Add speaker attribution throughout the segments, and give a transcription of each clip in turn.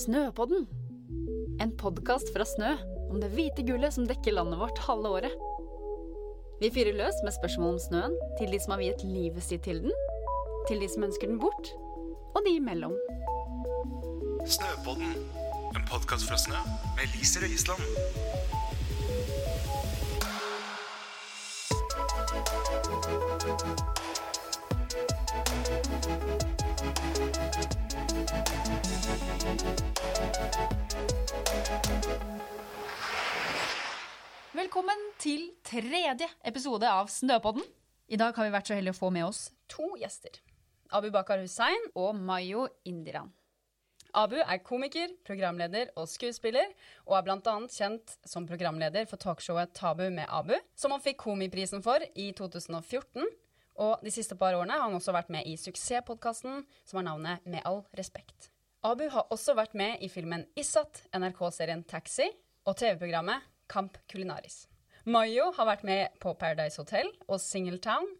Speaker 1: Snøpodden. En podkast fra Snø om det hvite gullet som dekker landet vårt halve året. Vi fyrer løs med spørsmål om snøen til de som har viet livet sitt til den, til de som ønsker den bort, og de imellom.
Speaker 2: Snøpodden, en podkast fra Snø med Lise Røisland.
Speaker 3: Velkommen til tredje episode av Snøpodden. I dag har vi vært så heldige å få med oss to gjester. Abu Bakar Hussein.
Speaker 1: Og Mayo Indiran.
Speaker 3: Abu er komiker, programleder og skuespiller, og er bl.a. kjent som programleder for talkshowet Tabu med Abu, som han fikk Komiprisen for i 2014. Og de siste par årene har han også vært med i suksesspodkasten som har navnet Med all respekt. Abu har også vært med i filmen Issat, NRK-serien Taxi og TV-programmet Kamp Kulinaris. Mayo har vært med på Paradise Hotel og Singletown,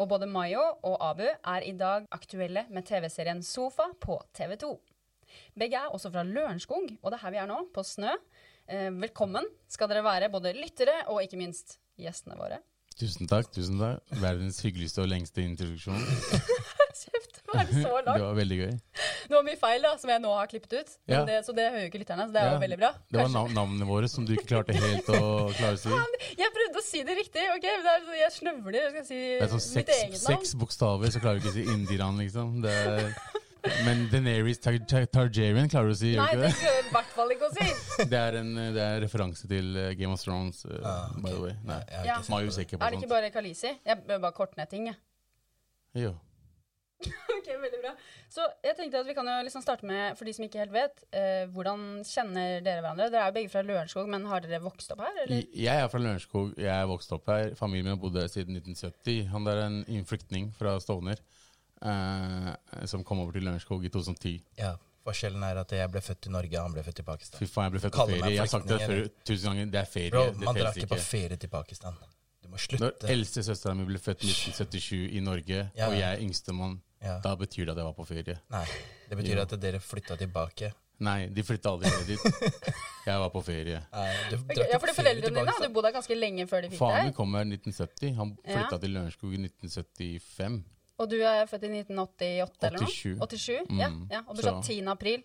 Speaker 3: og både Mayo og Abu er i dag aktuelle med TV-serien Sofa på TV 2. Begge er også fra Lørenskog, og det er her vi er nå, på snø. Eh, Velkommen skal dere være, både lyttere og ikke minst gjestene våre.
Speaker 4: Tusen takk. tusen takk. Verdens hyggeligste og lengste introduksjon.
Speaker 3: Kjeft, hva er det så
Speaker 4: Det
Speaker 3: langt?
Speaker 4: var veldig gøy.
Speaker 3: Det var mye feil da, som jeg nå har klippet ut, men
Speaker 4: Ja.
Speaker 3: det, så det hører jo ikke lytterne, så det er
Speaker 4: Ja.
Speaker 3: jo veldig bra.
Speaker 4: Det var nav navnene våre som du ikke klarte helt å klare å si.
Speaker 3: Jeg prøvde å si det riktig, ok? Men det er, så- jeg snøvler, jeg skal si
Speaker 4: Det er sånn
Speaker 3: mitt
Speaker 4: seks,
Speaker 3: eget navn.
Speaker 4: seks bokstaver, så klarer du ikke å si Indiran, liksom. Det er, men Deneris Tar Tar Targaryen klarer du å si,
Speaker 3: Nei,
Speaker 4: gjør du
Speaker 3: det
Speaker 4: ikke det?
Speaker 3: skal jeg i hvert fall ikke å si.
Speaker 4: Det er en eh, det er en referanse til eh, Game of Thrones, eh, by the way. Nei.
Speaker 3: har Ah, Ja. ikke sett
Speaker 4: Mayu er sikker
Speaker 3: Er
Speaker 4: på
Speaker 3: det ikke
Speaker 4: sånt.
Speaker 3: bare Kalisi? Jeg bør bare korte ned ting, jeg.
Speaker 4: Jo.
Speaker 3: Ok, veldig bra. Så jeg tenkte at vi kan jo liksom starte med, for de som ikke helt vet, eh, hvordan kjenner dere hverandre? Dere er jo begge fra Lørenskog, men har dere vokst opp her, eller?
Speaker 4: Jeg jeg er fra Lørenskog. Jeg er vokst opp her. Familien min har bodd her siden 1970. Han der er en innflyktning fra Stovner eh, som kom over til Lørenskog i 2010.
Speaker 5: Ja, forskjellen er at jeg ble født i Norge, han ble født i
Speaker 4: Fy
Speaker 5: Pakistan.
Speaker 4: faen, jeg ble født på
Speaker 5: Kaller meg
Speaker 4: ferie. Jeg har sagt det før
Speaker 5: flyktning,
Speaker 4: tusen ganger. Det er ferie.
Speaker 5: Bro,
Speaker 4: det
Speaker 5: man drar
Speaker 4: telles
Speaker 5: ikke på ferie til Pakistan. Du må
Speaker 4: Når
Speaker 5: slutte.
Speaker 4: eldste søstera mi ble født i 1977 i Norge,
Speaker 5: Ja.
Speaker 4: og jeg er yngstemann,
Speaker 5: Ja.
Speaker 4: da betyr det at jeg var på ferie.
Speaker 5: Nei, det betyr at dere flytta tilbake.
Speaker 4: Nei, de flytta aldri ned dit. Jeg var på ferie.
Speaker 5: Nei, du
Speaker 3: Ok,
Speaker 5: drar
Speaker 3: ja,
Speaker 5: ikke
Speaker 3: for
Speaker 5: på
Speaker 3: de
Speaker 5: ferie
Speaker 3: foreldrene
Speaker 5: til
Speaker 3: dine hadde
Speaker 5: Pakistan.
Speaker 3: jo bodd her ganske lenge før de fikk
Speaker 4: Faren min
Speaker 3: deg.
Speaker 4: kom her i 1970. Han
Speaker 3: Ja.
Speaker 4: flytta til Lørenskog i 1975.
Speaker 3: Og du er født i 1988 eller noe?
Speaker 4: 87.
Speaker 3: 87? Ja,
Speaker 4: Mm,
Speaker 3: ja. Og du sa
Speaker 4: så-
Speaker 3: 10. april.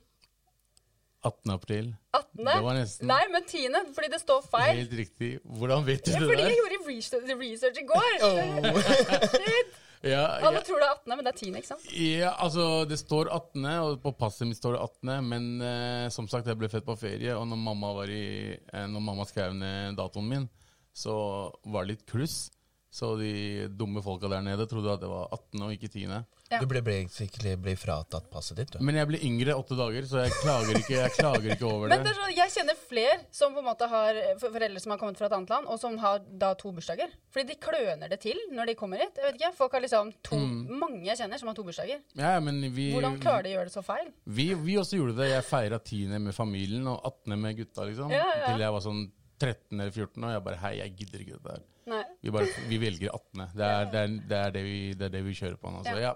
Speaker 4: 18. april.
Speaker 3: 18.
Speaker 4: Det var nesten
Speaker 3: Nei, men 10. fordi det står feil.
Speaker 4: helt riktig. Hvordan vet du
Speaker 3: Ja,
Speaker 4: det
Speaker 3: fordi jeg
Speaker 4: der? Oh.
Speaker 3: gjorde research, research i går. Shit.
Speaker 4: Ja,
Speaker 3: Alle
Speaker 4: jeg-
Speaker 3: tror det er 18., men det er 10., ikke sant?
Speaker 4: Ja, altså det står 18., og på passet mitt står det 18., men eh, som sagt, jeg ble født på ferie, og når mamma, var i, eh, når mamma skrev ned datoen min, så var det litt kluss. Så de dumme folka der nede trodde at det var 18. og ikke 10.
Speaker 3: Ja.
Speaker 5: Du ble, ble sikkert ble fratatt passet ditt, du.
Speaker 4: Men jeg ble yngre åtte dager, så jeg klager ikke, jeg klager ikke over
Speaker 3: Men det
Speaker 4: det.
Speaker 3: er så, jeg kjenner flere som på en måte har for- foreldre som har kommet fra et annet land, og som har da to bursdager. Fordi de kløner det til når de kommer hit. Jeg vet ikke, folk har liksom to,
Speaker 4: Mm.
Speaker 3: Mange jeg kjenner som har to bursdager.
Speaker 4: Ja, ja, men vi,
Speaker 3: Hvordan klarer de å gjøre det så feil?
Speaker 4: vi, vi også gjorde det. Jeg feira 10. med familien og 18. med gutta, liksom.
Speaker 3: Ja, ja.
Speaker 4: Til jeg var sånn 13 eller 14, og jeg bare Hei, jeg gidder ikke dette her.
Speaker 3: Nei.
Speaker 4: Vi, bare, vi velger 18. Det er det, er, det, er det, vi, det, er det vi kjører på nå. Så ja.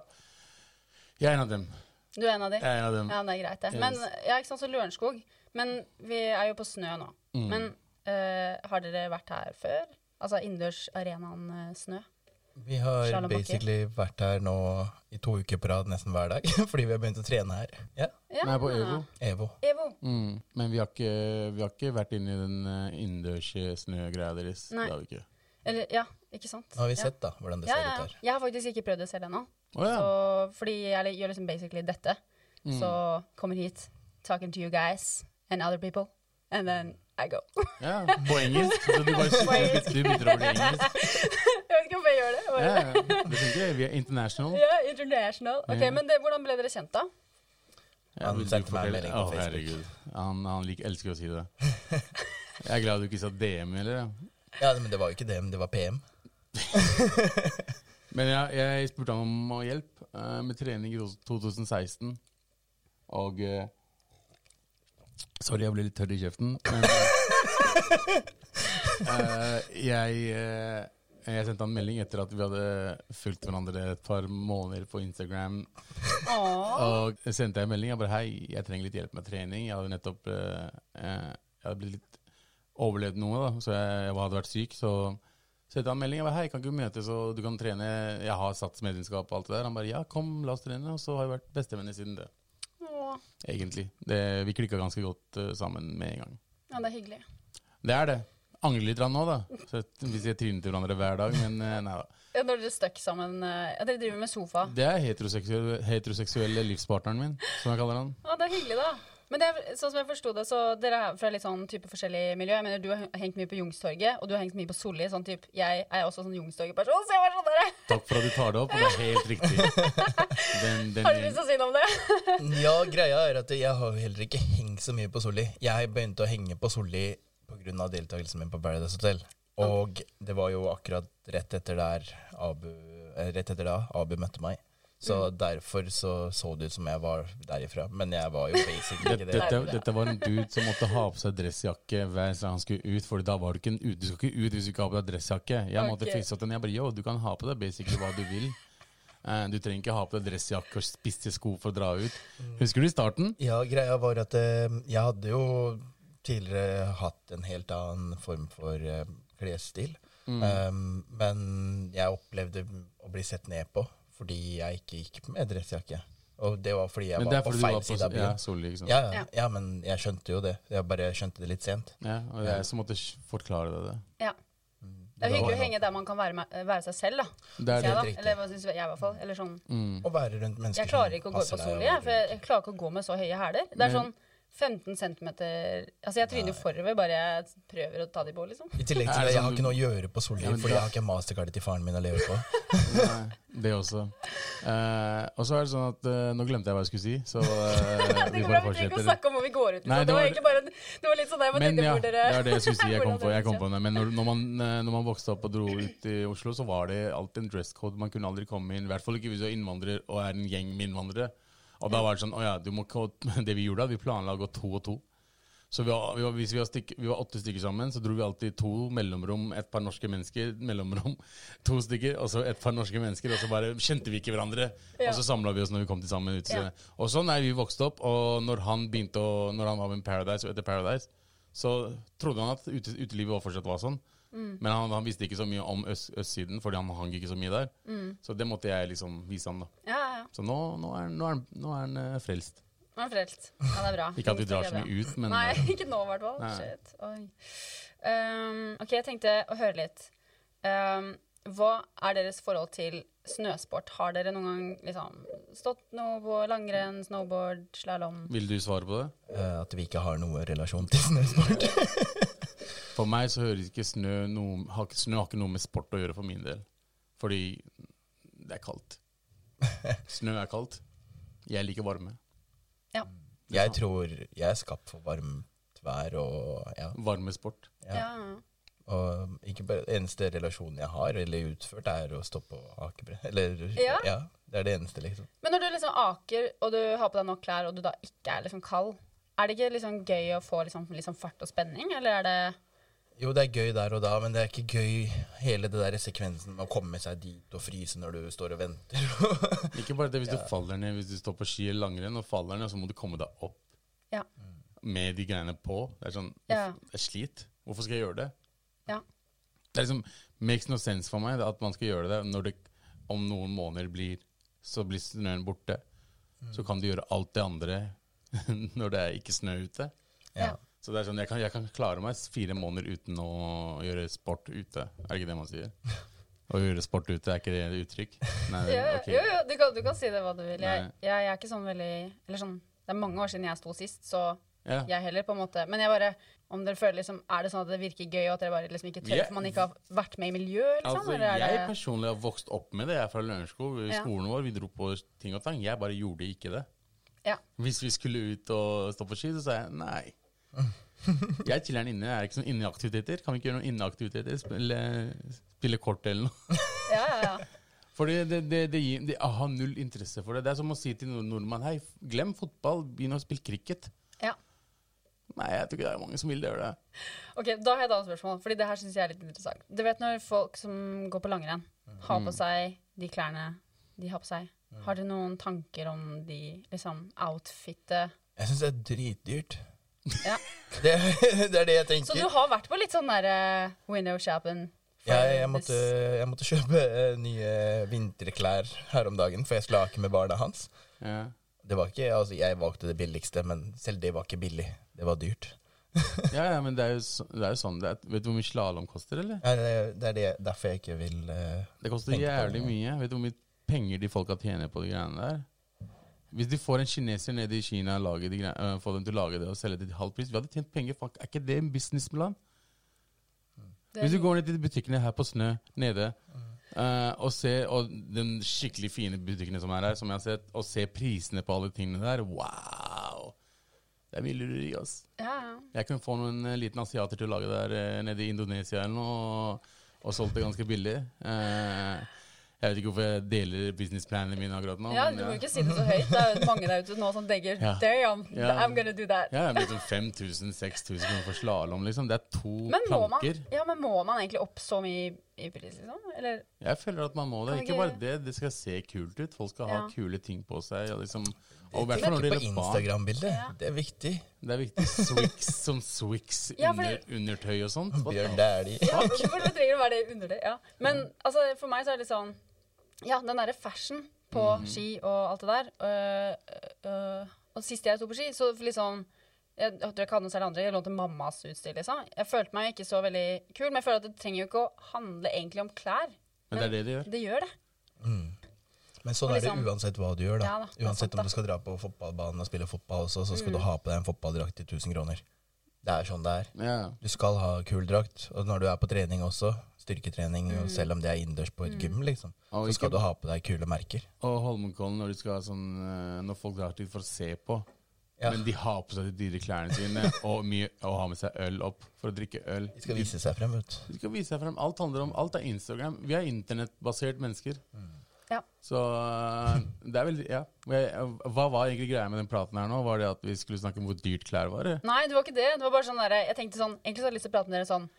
Speaker 4: Jeg er en av dem.
Speaker 3: Du er en av de?
Speaker 4: Jeg er en av dem.
Speaker 3: Ja, det er greit, det. Men ja, ikke sant, så Lørenskog. Men vi er jo på snø nå. Men eh, har dere vært her før? Altså innendørsarenaen eh, snø?
Speaker 5: Vi har
Speaker 3: Slalom bakke.
Speaker 5: basically vært her nå i to uker på rad nesten hver dag, fordi vi har begynt å trene her. Ja,
Speaker 3: Ja.
Speaker 4: Nei, på Evo.
Speaker 5: Evo.
Speaker 3: Evo.
Speaker 4: Mm. Men vi har, ikke, vi har ikke vært inne i den eh, innendørs eh, snøgreia deres.
Speaker 3: Nei.
Speaker 4: Det har vi ikke.
Speaker 3: Eller, ja, ikke sant?
Speaker 5: Nå har vi
Speaker 3: Ja.
Speaker 5: sett da, hvordan det
Speaker 3: Ja,
Speaker 5: ser
Speaker 3: ja,
Speaker 5: ut
Speaker 3: ja.
Speaker 5: her.
Speaker 3: Jeg har faktisk ikke prøvd det selv ennå.
Speaker 4: Å ja.
Speaker 3: Så fordi jeg li- gjør liksom basically dette. Så kommer hit, talking to you guys and other people, and then I go.
Speaker 4: ja. På engelsk. Så du bare bytter, du bytter over til engelsk.
Speaker 3: jeg vet ikke hvorfor jeg gjør det.
Speaker 4: Ja,
Speaker 3: Bare,
Speaker 4: ja. det funker. Vi er international.
Speaker 3: ja, international. Ok,
Speaker 4: Ja.
Speaker 3: Men det, hvordan ble dere kjent, da?
Speaker 4: Ja,
Speaker 5: Han
Speaker 4: vil du
Speaker 5: sendte meg en
Speaker 4: fortelle-
Speaker 5: melding på
Speaker 4: Å,
Speaker 5: Facebook.
Speaker 4: herregud. Han, han liker, elsker å si det. Jeg er glad du ikke sa DM, eller? Ja.
Speaker 5: Ja, men det var jo ikke DM, det var PM.
Speaker 4: Men jeg, jeg spurte han om å hjelp eh, med trening i to- 2016. Og eh, Sorry, jeg ble litt tørr i kjeften. Men, eh, eh, jeg eh, Jeg sendte han melding etter at vi hadde fulgt hverandre et par måneder på Instagram.
Speaker 3: Åh.
Speaker 4: Og sendte jeg en melding. Jeg bare hei, jeg trenger litt hjelp med trening. Jeg hadde nettopp eh, eh, Jeg hadde blitt litt overlevd noe, da. Så jeg, jeg hadde vært syk. Så sendte han en melding. Jeg bare hei, kan ikke vi møtes og du kan trene? Jeg har sats medlemskap og alt det der. Han bare ja, kom, la oss trene. Og så har vi vært bestevenner siden det.
Speaker 3: Åh.
Speaker 4: Egentlig. Det, vi klikka ganske godt eh, sammen med en gang.
Speaker 3: Ja, det er hyggelig.
Speaker 4: Det er det. Angrer litt grann nå, da. Så vi ser trynet til hverandre hver dag, men eh, nei da.
Speaker 3: Ja, når dere er stuck sammen eh, Ja, dere driver med sofa.
Speaker 4: Det er heteroseksuelle, heteroseksuelle livspartneren min, som jeg kaller han.
Speaker 3: Ja, Ah, det er hyggelig, da. Men det er, sånn som jeg forsto det, så dere er fra litt sånn type forskjellig miljø. Jeg mener, Du har hengt mye på Youngstorget, og du har hengt mye på Solli. Sånn type Jeg er også sånn Youngstorget-person, så jeg var sånn dere!
Speaker 4: Takk for at du tar det opp, og det er helt riktig. Den, den,
Speaker 3: Har du lyst til å si noe om det?
Speaker 5: Ja, greia er at jeg har jo heller ikke hengt så mye på Solli. Jeg begynte å henge på Solli pga. deltakelsen min på Paradise Hotel. Og det var jo akkurat rett etter der Abu, eh, rett etter da Abu møtte meg. Så derfor så, så det ut som jeg var derifra. Men jeg var jo basically ikke det.
Speaker 4: dette, dette var en dude som måtte ha på seg dressjakke hver gang han skulle ut. Fordi da var du ikke en ut. Du skal ikke ut hvis du ikke har på deg dressjakke. Jeg måtte
Speaker 3: Ok.
Speaker 4: fikse opp den. Jeg bare yo, du kan ha på deg basically hva du vil. Eh, Du trenger ikke ha på deg dressjakke og spisse sko for å dra ut. Husker du i starten?
Speaker 5: Ja, greia var at eh, jeg hadde jo tidligere hatt en helt annen form for eh, klesstil.
Speaker 4: Mm.
Speaker 5: Um, men jeg opplevde å bli sett ned på fordi jeg ikke gikk med dressjakke. Og det var fordi jeg
Speaker 4: Men det
Speaker 5: var
Speaker 4: er
Speaker 5: på
Speaker 4: fordi du
Speaker 5: feil
Speaker 4: var på
Speaker 5: side av
Speaker 4: ja,
Speaker 5: byen.
Speaker 4: Solli, ikke sant.
Speaker 5: Ja, ja, ja, men jeg skjønte jo det. Jeg bare skjønte det litt sent.
Speaker 4: Ja, og jeg som måtte forklare deg det.
Speaker 3: Ja. Mm. Det er hyggelig å henge der man kan være, med, være seg selv, da.
Speaker 4: Det er
Speaker 3: Sier jeg,
Speaker 4: det.
Speaker 3: da. Eller hva syns jeg, i hvert fall. Eller sånn.
Speaker 4: Mm.
Speaker 5: Å være rundt mennesker
Speaker 3: Jeg klarer ikke å gå
Speaker 5: som
Speaker 3: på
Speaker 5: passer deg
Speaker 3: Solli,
Speaker 5: og
Speaker 3: jeg, for jeg,
Speaker 5: andre.
Speaker 3: jeg klarer ikke å gå med så høye hæler. Det er sånn 15 cm Altså, jeg tryner jo forover bare jeg prøver å ta de på, liksom.
Speaker 5: I tillegg
Speaker 4: Er
Speaker 5: til
Speaker 4: det
Speaker 5: det, jeg
Speaker 4: sånn
Speaker 5: har
Speaker 4: du-
Speaker 5: ikke noe å gjøre på Solli,
Speaker 4: Ja, men
Speaker 5: fordi
Speaker 4: da-
Speaker 5: jeg har ikke mastercardet til faren min å leve på.
Speaker 4: Nei, det også. Eh, og så er det sånn at eh, Nå glemte jeg hva jeg skulle si, så eh,
Speaker 3: Det går bra, vi trenger
Speaker 4: vi bare
Speaker 3: ikke å
Speaker 4: fortsetter.
Speaker 3: snakke om hvor vi går ut. Liksom.
Speaker 4: Nei, det
Speaker 3: det, var
Speaker 4: var-
Speaker 3: egentlig bare Det var litt sånn der jeg bare
Speaker 4: Men
Speaker 3: tenkte
Speaker 4: ja,
Speaker 3: hvor
Speaker 4: det
Speaker 3: dere
Speaker 4: er det jeg skulle si. Jeg kom
Speaker 3: hvordan
Speaker 4: på, jeg kom
Speaker 3: dere-
Speaker 4: på det. Men når, når, man, eh, når man vokste opp og dro ut i Oslo, så var det alltid en dress code. Man kunne aldri komme inn, i hvert fall ikke hvis du er innvandrer og er en gjeng med innvandrere. Og da var det sånn Å ja, du må ikke Det vi gjorde, da, vi planla å gå to og to. Så vi var, vi var, hvis vi var, stykk- vi var åtte stykker sammen, så dro vi alltid to mellomrom, et par norske mennesker, mellomrom, to stykker, og så et par norske mennesker, og så bare kjente vi ikke hverandre. Og så samla vi oss når vi kom til sammen. Ut,
Speaker 3: Ja.
Speaker 4: Og sånn er vi vokst opp, og når han begynte å, når han var med Paradise og etter Paradise, så trodde han at ute, utelivet var fortsatt var sånn. Men han, han visste ikke så mye om øst, østsiden, fordi han hang ikke så mye der. Så det måtte jeg liksom vise han, da.
Speaker 3: Ja, ja, ja.
Speaker 4: Så nå, nå, er, han- nå, er, han- nå er han eh, frelst.
Speaker 3: Nå er han frelst. Ja, det er bra.
Speaker 4: Ikke at vi
Speaker 3: Det
Speaker 4: drar
Speaker 3: er
Speaker 4: så
Speaker 3: bra.
Speaker 4: mye ut, men
Speaker 3: Nei,
Speaker 4: eh,
Speaker 3: ikke nå i hvert fall.
Speaker 4: Nei.
Speaker 3: Shit. Oi. Um, OK, jeg tenkte å høre litt. Um, hva er deres forhold til snøsport? Har dere noen gang liksom, stått noe på langrenn, snowboard, slalåm?
Speaker 4: Vil du svare på det?
Speaker 5: Eh, At vi ikke har noe relasjon til snøsport.
Speaker 4: For meg så hører ikke snø noe, har ikke, snø har ikke noe med sport å gjøre for min del. Fordi det er kaldt. Snø er kaldt. Jeg liker varme.
Speaker 3: Ja.
Speaker 5: Jeg tror jeg er skapt for varmt vær og ja.
Speaker 4: Varmesport.
Speaker 3: ja. ja.
Speaker 5: Og ikke bare, eneste relasjonen jeg har, eller utført, er å stå på akebrett. Eller
Speaker 3: Ja?
Speaker 5: ja. Det er det eneste, liksom.
Speaker 3: Men når du liksom aker, og du har på deg nok klær, og du da ikke er liksom kald, er det ikke liksom gøy å få liksom, liksom fart og spenning, eller er det
Speaker 5: Jo, det er gøy der og da, men det er ikke gøy hele det der sekvensen med å komme seg dit og fryse når du står og venter.
Speaker 4: Ikke bare det hvis du faller ned, hvis du står på ski eller langrenn og faller ned, så må du komme deg opp
Speaker 3: Ja.
Speaker 4: med de greiene på. Det er sånn
Speaker 3: Ja.
Speaker 4: Det er slit. Hvorfor skal jeg gjøre det?
Speaker 3: ja.
Speaker 4: Det er liksom makes no sense for meg at man skal gjøre det når det om noen måneder blir så blir snøen borte.
Speaker 3: Mm.
Speaker 4: Så kan du gjøre alt det andre når det er ikke snø ute.
Speaker 5: Ja.
Speaker 4: Så det er sånn, jeg kan, jeg kan klare meg fire måneder uten å gjøre sport ute. Er det ikke det man sier? Å gjøre sport ute, er ikke det et uttrykk? Nei,
Speaker 3: Ja, ja,
Speaker 4: ok.
Speaker 3: Jo, jo, du kan, du kan si det hva du vil. Jeg,
Speaker 4: Nei.
Speaker 3: jeg, er ikke sånn veldig Eller sånn Det er mange år siden jeg sto sist, så
Speaker 4: Ja.
Speaker 3: jeg heller, på en måte. Men jeg bare Om dere føler liksom Er det sånn at det virker gøy, og at dere bare liksom ikke tør
Speaker 4: Jeg-
Speaker 3: for man ikke har vært med i miljøet, liksom?
Speaker 4: Altså,
Speaker 3: eller er
Speaker 4: jeg
Speaker 3: det,
Speaker 4: personlig har vokst opp med det. Jeg er fra Lørenskog. I
Speaker 3: Ja.
Speaker 4: skolen vår vi dro på ting og tang. Jeg bare gjorde ikke det.
Speaker 3: ja.
Speaker 4: Hvis vi skulle ut og stå på ski, så sa jeg nei. Jeg chiller'n inne. Jeg er ikke sånn inneaktiviteter. Kan vi ikke gjøre noen inneaktiviteter? Spille, spille kort eller noe?
Speaker 3: ja, ja, ja.
Speaker 4: Fordi det, det, det, gir, det jeg har null interesse for det. Det er som å si til en nordmann hei, glem fotball, begynn å spille cricket.
Speaker 3: Ja.
Speaker 4: Nei, jeg tror ikke det er mange som vil gjøre det.
Speaker 3: Ok, Da har jeg et annet spørsmål, Fordi det her synes jeg er litt interessant. Du vet når folk som går på langrenn,
Speaker 5: Mm.
Speaker 3: har på seg de klærne de har på seg. Har dere noen tanker om de liksom outfitet
Speaker 5: Jeg syns det er dritdyrt.
Speaker 3: ja.
Speaker 5: Det, det er det jeg tenker.
Speaker 3: Så du har vært på litt sånn der eh, window shopping?
Speaker 5: Ja, jeg, jeg, måtte, jeg måtte kjøpe eh, nye vinterklær her om dagen, for jeg skulle lake med barna hans.
Speaker 4: Ja.
Speaker 5: Det var ikke, altså Jeg valgte det billigste, men selv det var ikke billig. Det var dyrt.
Speaker 4: ja, ja, men det er jo, så, det er jo sånn det er, Vet du hvor mye slalåm koster, eller?
Speaker 5: Ja, det, det er det, derfor jeg ikke vil eh,
Speaker 4: Det koster
Speaker 5: Tenk på det,
Speaker 4: jævlig mye. Vet du hvor mye penger de folka tjener på de greiene der? Hvis de får en kineser nede i Kina og lager de grei- øh, får dem til å lage det og selge det til halv pris Vi hadde tjent penger, fuck. Er ikke det en businessplan? Hvis du går ned til butikkene her på Snø nede
Speaker 5: Mm.
Speaker 4: eh, og ser og den skikkelig fine butikkene som er her, som jeg har sett, og ser prisene på alle tingene der, wow! Det er mye lureri, ass.
Speaker 3: Ja, ja.
Speaker 4: Jeg kunne få noen eh, liten asiater til å lage det der eh, nede i Indonesia eller noe, og, og solgt det ganske billig. Eh, jeg vet ikke hvorfor jeg deler businessplanene mine akkurat nå.
Speaker 3: ja,
Speaker 4: men,
Speaker 3: du må
Speaker 4: eh,
Speaker 3: jo ikke si det så høyt. Det er jo mange der ute nå som tenker
Speaker 4: Ja.
Speaker 3: Damn,
Speaker 4: Ja.
Speaker 3: I'm gonna do that.
Speaker 4: ja, det blir sånn 5000-6000 kroner for slalåm, liksom. Det er to
Speaker 3: Men må, man,
Speaker 4: planker.
Speaker 3: ja, men må man egentlig opp så mye i pris, liksom? Eller
Speaker 4: Jeg føler at man må det.
Speaker 3: Kan ikke-
Speaker 4: Ikke bare det, det skal se kult ut. Folk skal ha
Speaker 3: Ja.
Speaker 4: kule ting på seg. Og liksom, og i hvert fall når det
Speaker 5: tenke på
Speaker 4: gjelder barn.
Speaker 5: Instagram-bildet.
Speaker 3: Ja.
Speaker 5: Det er viktig.
Speaker 4: Det er viktig. Swix, sånn Swix
Speaker 3: Ja, for
Speaker 4: under,
Speaker 3: det-
Speaker 4: undertøy og sånt. What
Speaker 5: Bjørn
Speaker 4: the-
Speaker 5: Dæhlie.
Speaker 3: Ja, hvorfor trenger det å være det under det? Ja. Men altså, for meg så er det litt sånn Ja, den derre fashion på ski og alt det der. øh, øh, og sist jeg sto på ski, så litt sånn jeg tror jeg ikke hadde noe særlig andre. Jeg lånte mammas utstyr. liksom. Jeg følte meg ikke så veldig kul, men jeg føler at det trenger jo ikke å handle egentlig om klær.
Speaker 4: Men det er det det gjør.
Speaker 3: Det gjør det.
Speaker 5: Men sånn
Speaker 3: Og
Speaker 5: er det
Speaker 3: liksom-
Speaker 5: uansett hva du gjør. da.
Speaker 3: Ja da, det er
Speaker 5: uansett
Speaker 3: sant da. Mm.
Speaker 5: om du skal dra på fotballbanen og spille fotball også, så skal du ha på deg en fotballdrakt til 1000 kroner. Det er sånn det er.
Speaker 4: Ja.
Speaker 5: Du skal ha kul drakt. Og når du er på trening også, styrketrening,
Speaker 3: Mm.
Speaker 5: og selv om det er innendørs på et gym, liksom,
Speaker 4: Og
Speaker 5: så skal
Speaker 4: ikke-
Speaker 5: du ha på deg kule merker.
Speaker 4: Og Holmenkollen, når, du skal ha sånn, eh, når folk drar dit for å se på.
Speaker 5: Ja.
Speaker 4: Men de har på seg de dyre klærne sine og, mye, og har med seg øl opp for å drikke øl.
Speaker 5: De skal vise seg frem, vet
Speaker 4: De
Speaker 5: du.
Speaker 4: skal vise seg frem. Alt handler om Alt er Instagram. Vi er internettbasert mennesker.
Speaker 5: Mm.
Speaker 3: Ja.
Speaker 4: Så eh, det er veldig Ja. Jeg- Hva var egentlig greia med den praten her nå? Var det at vi skulle snakke om hvor dyrt klær var? eller?
Speaker 3: Nei, det var ikke det. Det var bare sånn der, jeg tenkte sånn, Egentlig så hadde jeg lyst til å prate med dere sånn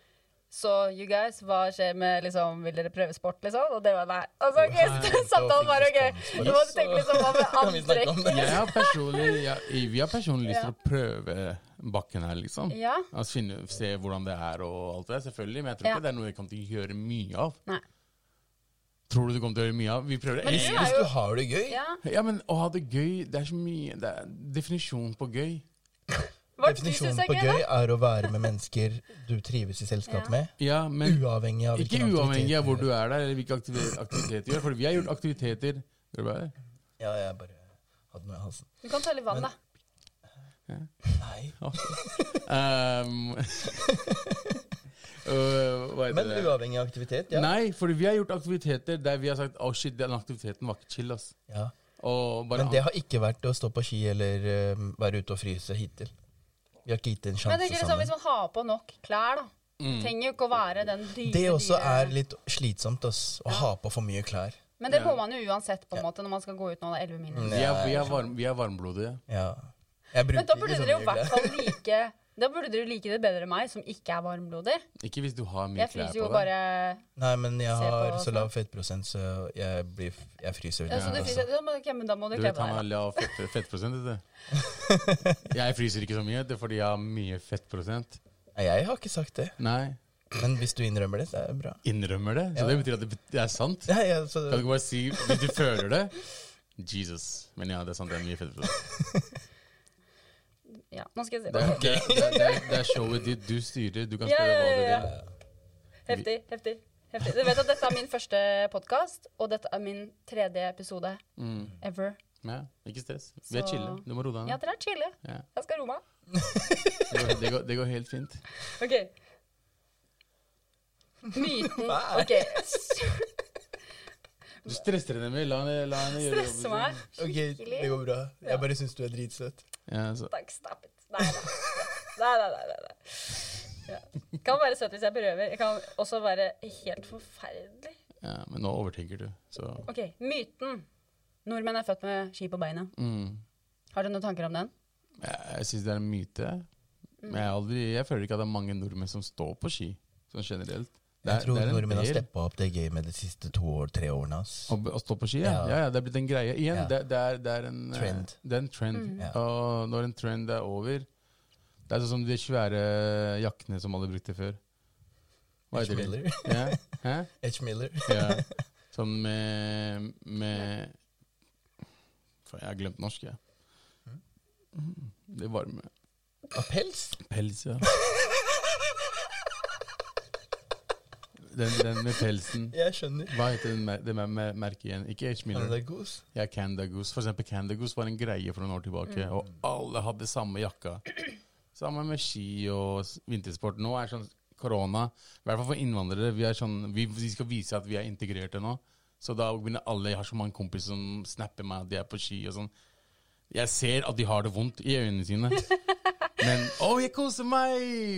Speaker 3: Så you guys, hva skjer med liksom, Vil dere prøve sport, liksom? Og det var nei. Altså, ok, så
Speaker 5: Nei,
Speaker 3: Samtalen var
Speaker 5: det
Speaker 3: ok.
Speaker 5: var
Speaker 3: Du
Speaker 5: fin
Speaker 3: måtte
Speaker 5: respons
Speaker 3: tenke
Speaker 5: på det,
Speaker 3: liksom hva med
Speaker 5: Kan vi snakke om
Speaker 3: antrekk?
Speaker 5: det?
Speaker 4: Jeg har personlig, jeg, vi har personlig lyst
Speaker 3: Ja.
Speaker 4: til å prøve bakken her, liksom.
Speaker 3: Ja.
Speaker 4: Altså, finne, se hvordan det er og alt det der, selvfølgelig. Men jeg tror
Speaker 3: Ja.
Speaker 4: ikke det er noe vi kommer til å gjøre mye av.
Speaker 3: Nei.
Speaker 4: Tror du du kommer til å gjøre mye av? Vi prøver
Speaker 3: Men
Speaker 4: det.
Speaker 5: Hvis,
Speaker 3: det er
Speaker 5: hvis
Speaker 3: jo-
Speaker 5: du har det gøy,
Speaker 3: Ja.
Speaker 4: Ja, men å ha det gøy, det er så mye Det er definisjon på gøy.
Speaker 3: Hva du syns
Speaker 5: Definisjonen
Speaker 3: er
Speaker 5: på
Speaker 3: gøy, da?
Speaker 5: gøy er å være med mennesker du trives i selskap
Speaker 3: Ja.
Speaker 5: med.
Speaker 4: Ja, men
Speaker 5: Uavhengig av
Speaker 4: ikke
Speaker 5: hvilken
Speaker 4: uavhengig av
Speaker 5: aktivitet
Speaker 4: hvor du er der, eller hvilke aktivi- aktiviteter du gjør. For vi har gjort aktiviteter Gjør du bare det?
Speaker 5: Ja, jeg bare hadde noe i halsen.
Speaker 3: Du kan ta litt vann, da.
Speaker 5: Nei.
Speaker 4: Um, øh, hva heter
Speaker 5: Men
Speaker 4: det?
Speaker 5: uavhengig av aktivitet, ja.
Speaker 4: Nei, for vi har gjort aktiviteter der vi har sagt Å shit, den aktiviteten var ikke chill, ass.
Speaker 5: ja.
Speaker 4: Og bare
Speaker 5: Men det har ikke vært å stå på ski eller øhm, være ute og fryse hittil. Vi har ikke gitt det en
Speaker 3: Men jeg
Speaker 5: sjanse
Speaker 3: tenker liksom,
Speaker 5: sammen.
Speaker 3: Hvis man har på nok klær, da. Trenger jo ikke å være den dyre
Speaker 5: Mm. Det også
Speaker 3: dyre-
Speaker 5: er litt slitsomt, ass. Å ha på for mye klær.
Speaker 3: Men det må man jo uansett på en måte når man skal gå ut nå. Det er 11
Speaker 5: Mm.
Speaker 3: minus.
Speaker 4: vi, er, vi, er varm, vi er varmblodige.
Speaker 5: Ja. Jeg
Speaker 3: Men da
Speaker 5: bruker liksom
Speaker 3: burde
Speaker 5: ikke så
Speaker 3: dere jo i
Speaker 5: mye
Speaker 3: hvert
Speaker 5: klær.
Speaker 3: fall like Da burde dere like det bedre enn meg, som ikke er varmblodig.
Speaker 4: Ikke hvis du har mye
Speaker 3: Jeg
Speaker 4: klær
Speaker 3: fryser
Speaker 4: på
Speaker 3: jo
Speaker 4: deg.
Speaker 3: bare
Speaker 5: Nei, men jeg
Speaker 3: Se på
Speaker 5: har
Speaker 3: og
Speaker 5: så
Speaker 3: sånn.
Speaker 5: lav fettprosent, så jeg, blir, f- jeg fryser
Speaker 3: Ja,
Speaker 5: veldig
Speaker 3: så du
Speaker 5: mye.
Speaker 3: fryser, ja, men, ok, men da må du
Speaker 4: Du
Speaker 3: kle
Speaker 4: vet
Speaker 3: på
Speaker 4: han har
Speaker 3: deg.
Speaker 4: lav fett, fettprosent, vet du. Jeg fryser ikke så mye, det er fordi jeg har mye fettprosent.
Speaker 5: Nei, jeg har ikke sagt det.
Speaker 4: Nei,
Speaker 5: Men hvis du innrømmer det, så er det bra.
Speaker 4: innrømmer det. Så det betyr at det, bet- det er sant.
Speaker 5: Nei, jeg, så,
Speaker 4: Kan du ikke bare si hvis du føler det? Jesus. Men ja, det er sant, det er mye fettprosent.
Speaker 3: da. Ja, nå skal jeg si
Speaker 4: Det
Speaker 3: det.
Speaker 4: er, det, det, det, det er showet ditt, du styrer, du kan
Speaker 3: Ja,
Speaker 4: spørre
Speaker 3: ja,
Speaker 4: hva du
Speaker 3: ja,
Speaker 4: vil.
Speaker 3: ja. Heftig, heftig. heftig. Du vet at dette er min første podkast, og dette er min tredje episode ever.
Speaker 4: Ja, ikke stress. Vi er
Speaker 3: Så-
Speaker 4: chille, du må roe deg
Speaker 3: Ja,
Speaker 4: ned.
Speaker 3: dere er chille.
Speaker 4: Ja.
Speaker 3: Jeg skal roe meg.
Speaker 4: Det går, det, går, det går helt fint.
Speaker 3: OK. Myten OK.
Speaker 4: Du stresser henne med, la henne, la henne gjøre
Speaker 3: Stresse meg.
Speaker 5: ok, det går bra. Jeg bare syns du er dritsøt.
Speaker 4: Ja, så.
Speaker 3: Takk, stopp it. Nei da. Nei, nei, nei. nei, nei. Ja. Kan være søt hvis jeg berøver. Jeg kan også være helt forferdelig.
Speaker 4: Ja, men nå overtenker du, så
Speaker 3: OK, myten. Nordmenn er født med ski på beina.
Speaker 4: mm.
Speaker 3: Har du noen tanker om den?
Speaker 4: Jeg, jeg syns det er en myte. Men jeg, er aldri, jeg føler ikke at det er mange nordmenn som står på ski, sånn generelt. Det er-
Speaker 5: Jeg tror
Speaker 4: det er en
Speaker 5: nordmenn har
Speaker 4: del.
Speaker 5: steppa opp det gamet de siste to år, tre årene. ass.
Speaker 4: Å, å stå på ski, ja.
Speaker 5: Ja.
Speaker 4: ja. ja det er blitt en greie. Igjen,
Speaker 5: Ja.
Speaker 4: det, det, er, det er en eh,
Speaker 5: Trend.
Speaker 4: Det er en trend.
Speaker 5: Ja.
Speaker 4: Og når en trend er over Det er sånn som de svære jakkene som alle brukte før. Hva
Speaker 5: H.
Speaker 4: heter de?
Speaker 5: Miller.
Speaker 4: Ja. Hæ?
Speaker 5: H. Miller.
Speaker 4: Ja. Sånn med, med Faen, jeg har glemt norsk, jeg.
Speaker 5: Mm.
Speaker 4: Mm. Det varme.
Speaker 5: Av pels?
Speaker 4: Pels, ja. Den, den med pelsen.
Speaker 5: Jeg skjønner.
Speaker 4: Hva heter den, mer- det mer- mer- merket igjen? Ikke H. Miller.
Speaker 5: Han er god.
Speaker 4: Ja, Canada Goose. For eksempel Canada Goose var en greie for noen år tilbake,
Speaker 3: Mm.
Speaker 4: og alle hadde samme jakka. Samme med ski og s- vintersport. Nå er sånn korona, i hvert fall for innvandrere, vi, er sånn, vi, vi skal vise at vi er integrerte nå. Så da begynner alle, jeg har så mange kompiser som snapper meg at de er på ski og sånn. Jeg ser at de har det vondt i øynene sine. Men 'Å, jeg koser meg!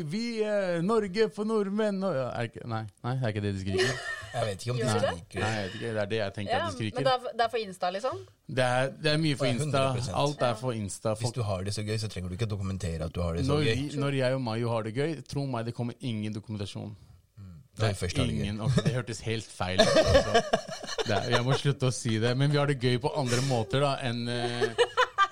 Speaker 4: Vi er Norge for nordmenn!' Og, ja, er ikke, nei, nei, det er ikke det de skriker.
Speaker 5: Jeg vet ikke om de
Speaker 4: Nei,
Speaker 5: skriker.
Speaker 4: nei, jeg vet ikke, det er det jeg tenker
Speaker 3: Ja,
Speaker 4: at de skriker.
Speaker 3: men det er, det er for Insta, liksom?
Speaker 4: Det er, det er mye for
Speaker 5: Ja,
Speaker 4: Insta.
Speaker 5: 100%.
Speaker 4: Alt er for Insta.
Speaker 5: Hvis
Speaker 4: Folk,
Speaker 5: du har det så gøy, så trenger du ikke dokumentere at du har det så
Speaker 4: når,
Speaker 5: gøy.
Speaker 4: vi- når jeg og Mayo har det gøy, tro meg, det kommer ingen
Speaker 5: Mm.
Speaker 4: dokumentasjon.
Speaker 5: Når vi først har det gøy.
Speaker 4: ingen, ok, det hørtes helt feil ut. altså. Det er, jeg må slutte å si det. Men vi har det gøy på andre måter da, enn eh,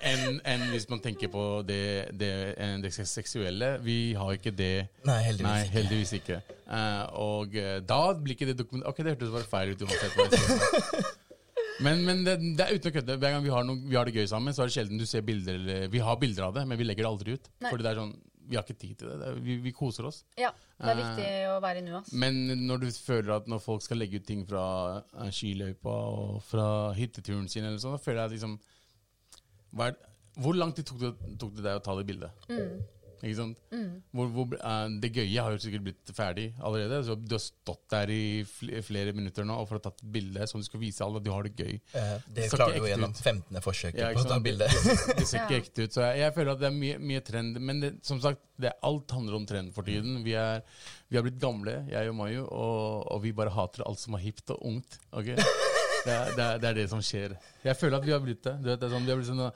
Speaker 4: enn- enn hvis man tenker på det, det, eh, det seksuelle. Vi har ikke det.
Speaker 5: Nei, heldigvis
Speaker 4: Nei,
Speaker 5: ikke.
Speaker 4: heldigvis ikke. Eh, og eh, da blir ikke det dokument... Ok, det hørtes bare feil ut uansett. hva jeg sier. Men, men det, det er uten å kødde. Hver gang vi har, noe, vi har det gøy sammen, så er det sjelden du ser bilder eller, Vi har bilder av det, men vi legger det aldri ut.
Speaker 3: Nei.
Speaker 4: Fordi det er sånn Vi har ikke tid til det. det er, vi, vi koser oss.
Speaker 3: Ja. Det er
Speaker 4: Eh,
Speaker 3: viktig å være i nuet. ass.
Speaker 4: Men når du føler at når folk skal legge ut ting fra eh, skiløypa og fra hytteturen sin, eller sånn, da føler jeg liksom hva er, Hvor lang tid tok det, tok det deg å ta det bildet? Ikke sant? Hvor, hvor, eh, det gøye har jo sikkert blitt ferdig allerede. Så du har stått der i fl- flere minutter nå og for å ha tatt et bilde som du skal vise alle at du har det gøy.
Speaker 5: Eh, Det
Speaker 4: Så
Speaker 5: klarer
Speaker 4: ikke
Speaker 5: du
Speaker 4: ekte
Speaker 5: gjennom
Speaker 4: ut.
Speaker 5: 15. forsøket
Speaker 4: Ja, ikke
Speaker 5: på å ta
Speaker 4: sant?
Speaker 5: bilde.
Speaker 4: Det ser ikke ekte ut. Så jeg, jeg føler at det er mye, mye trend. Men det, som sagt, det, alt handler om trend for tiden. Vi er, vi er blitt gamle, jeg og Mayu, og, og vi bare hater alt som er hipt og ungt. ok? Det er, det, er, det er det som skjer. Jeg føler at vi har blitt det. Du vet, det er sånn, vi har blitt sånn,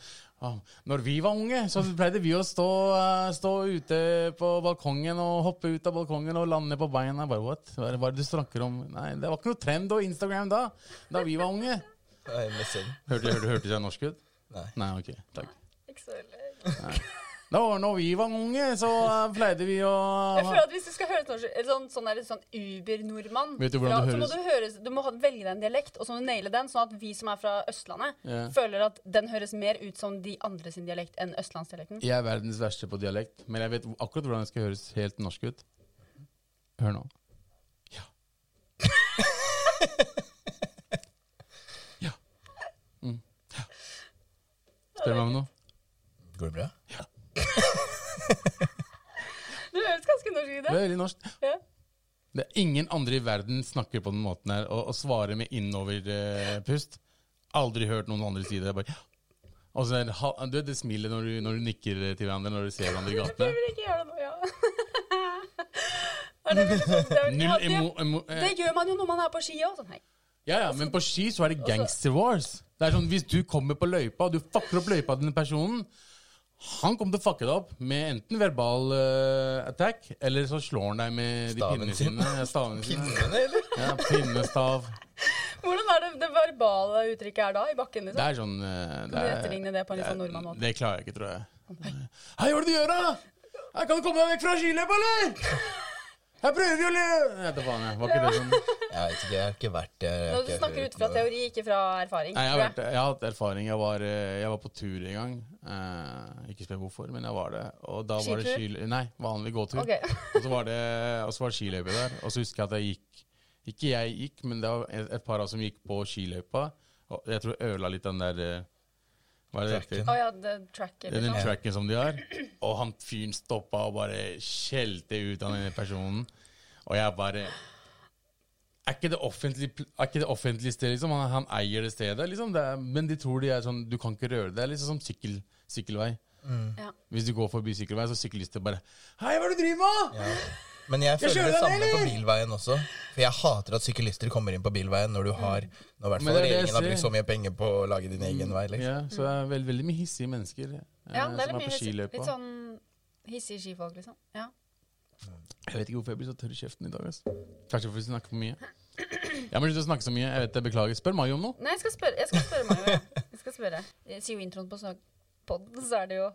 Speaker 4: ah, når vi var unge, så pleide vi å stå, eh, stå ute på balkongen og hoppe ut av balkongen og lande på beina. Bare, what? Hva er det- hva er det du snakker om? Nei, det var ikke noe trend og Instagram da, da vi var unge.
Speaker 5: Nei, med sinn.
Speaker 4: Hørte, hørte, hørte jeg norsk ut?
Speaker 5: Nei.
Speaker 4: Nei, ok. Takk.
Speaker 3: Ikke så veldig.
Speaker 4: Da var når vi var unge, så eh, pleide vi å
Speaker 3: Jeg føler at Hvis du skal høre et norsk- et sånn, sånn, der- sånn Uber-nordmann,
Speaker 4: Vet du hvordan
Speaker 3: fra-
Speaker 4: det
Speaker 3: så må
Speaker 4: høres?
Speaker 3: du, høres, du må ha- velge deg en dialekt, og så må du naile den, sånn at vi som er fra Østlandet,
Speaker 4: Ja.
Speaker 3: føler at den høres mer ut som de andre sin dialekt enn østlandsdialekten.
Speaker 4: Jeg er verdens verste på dialekt, men jeg vet akkurat hvordan det skal høres helt norsk ut. Hør nå. Ja. Ja. Mm. Ja. Spør meg om noe.
Speaker 5: Går det bra?
Speaker 3: Du høres ganske norsk ut. da.
Speaker 4: Veldig norsk.
Speaker 3: Ja.
Speaker 4: Det er ingen andre i verden snakker på den måten her og, og svarer med innoverpust. Aldri hørt noen andre si det. Bare, ja. Og så er det, ha- du vet det smilet når du, når du nikker til hverandre når du ser hverandre i gatene.
Speaker 3: Prøver ikke å gjøre det nå, ja. Er det veldig sånn- det er-
Speaker 4: Null
Speaker 3: ja, det-
Speaker 4: emo... emo eh,
Speaker 3: Det gjør man jo når man er på ski òg. Sånn, hei.
Speaker 4: ja, ja, men på ski så
Speaker 3: Altså-
Speaker 4: er det gangster wars. Det er sånn, Hvis du kommer på løypa, og du fucker opp løypa til den personen Han kommer til å fucke deg opp med enten verbal eh, attack, eller så slår han deg med de
Speaker 5: Staven
Speaker 4: pinnene
Speaker 5: sin.
Speaker 4: sine. Ja, stavene sine.
Speaker 5: Pinnene, eller?
Speaker 4: Ja, pinnestav.
Speaker 3: Hvordan er det det verbale uttrykket er da, i bakken? liksom?
Speaker 4: Det er sånn eh, det
Speaker 3: Kan du
Speaker 4: er-
Speaker 3: etterligne det på en litt sånn
Speaker 4: det er-
Speaker 3: nordmann måte?
Speaker 4: Det klarer jeg ikke, tror jeg. Hei, hva er det du gjør, da? Hei, kan du komme deg vekk fra skiløypa, eller? Jeg prøver jo å le... Jeg vet da faen, jeg. Var ikke det sånn?
Speaker 5: Jeg vet ikke, jeg har ikke vært der. jeg har
Speaker 3: Når du
Speaker 5: ikke
Speaker 3: snakker
Speaker 5: hørt
Speaker 3: ut fra
Speaker 5: noe.
Speaker 3: teori, ikke fra erfaring.
Speaker 4: Nei, jeg har,
Speaker 3: tror jeg.
Speaker 4: vært, jeg har hatt erfaring. Jeg var, eh, jeg var på tur en gang. Eh, ikke spør hvorfor, men jeg var det. Og da var det
Speaker 3: Skitur?
Speaker 4: skil... Nei, vanlig gåtur.
Speaker 3: Ok.
Speaker 4: og så var det, og så var det skiløype der. Og så husker jeg at jeg gikk Ikke jeg gikk, men det var et, et par av oss som gikk på skiløypa. Og jeg tror jeg ødela litt den der eh, Hva er det det heter?
Speaker 3: Å ja, det tracker,
Speaker 4: Det er den
Speaker 3: liksom.
Speaker 4: tracken som de har. Og han fyren stoppa og bare skjelte ut av denne personen. Og jeg bare Er ikke det offentlig, pl- er ikke det offentlig sted, liksom? Han, han eier det stedet, liksom. Det er, men de tror de er sånn Du kan ikke røre det. Det er liksom som sykkel, sykkelvei.
Speaker 3: Ja.
Speaker 4: Hvis du går forbi sykkelvei, så syklister bare Hei, hva er det du driver med?
Speaker 5: Ja. Men jeg
Speaker 4: Jeg
Speaker 5: føler
Speaker 4: kjører
Speaker 5: det
Speaker 4: den,
Speaker 5: samme på
Speaker 4: eller?
Speaker 5: bilveien også. For jeg hater at syklister kommer inn på bilveien når du har Når i hvert
Speaker 4: Men
Speaker 5: fall
Speaker 4: det er det jeg
Speaker 5: regjeringen har brukt
Speaker 4: sier.
Speaker 5: så mye penger på å lage din egen vei. Liksom.
Speaker 4: Ja, så det er veld, veldig mye hissige mennesker eh,
Speaker 3: Ja, det er
Speaker 4: som
Speaker 3: litt
Speaker 4: er på
Speaker 3: mye litt,
Speaker 4: skiløypa.
Speaker 3: litt sånn Hissige skifolk, liksom. Ja.
Speaker 4: Jeg vet ikke hvorfor jeg blir så tørr i kjeften i dag. ass. Kanskje fordi jeg snakker for mye. Jeg må slutte å snakke så mye. Jeg vet det, Beklager. Spør Mario om noe.
Speaker 3: Nei, jeg skal spørre, jeg skal spørre Mario. ja. Jeg skal spørre. Jeg sier jo introen på podden, så er det jo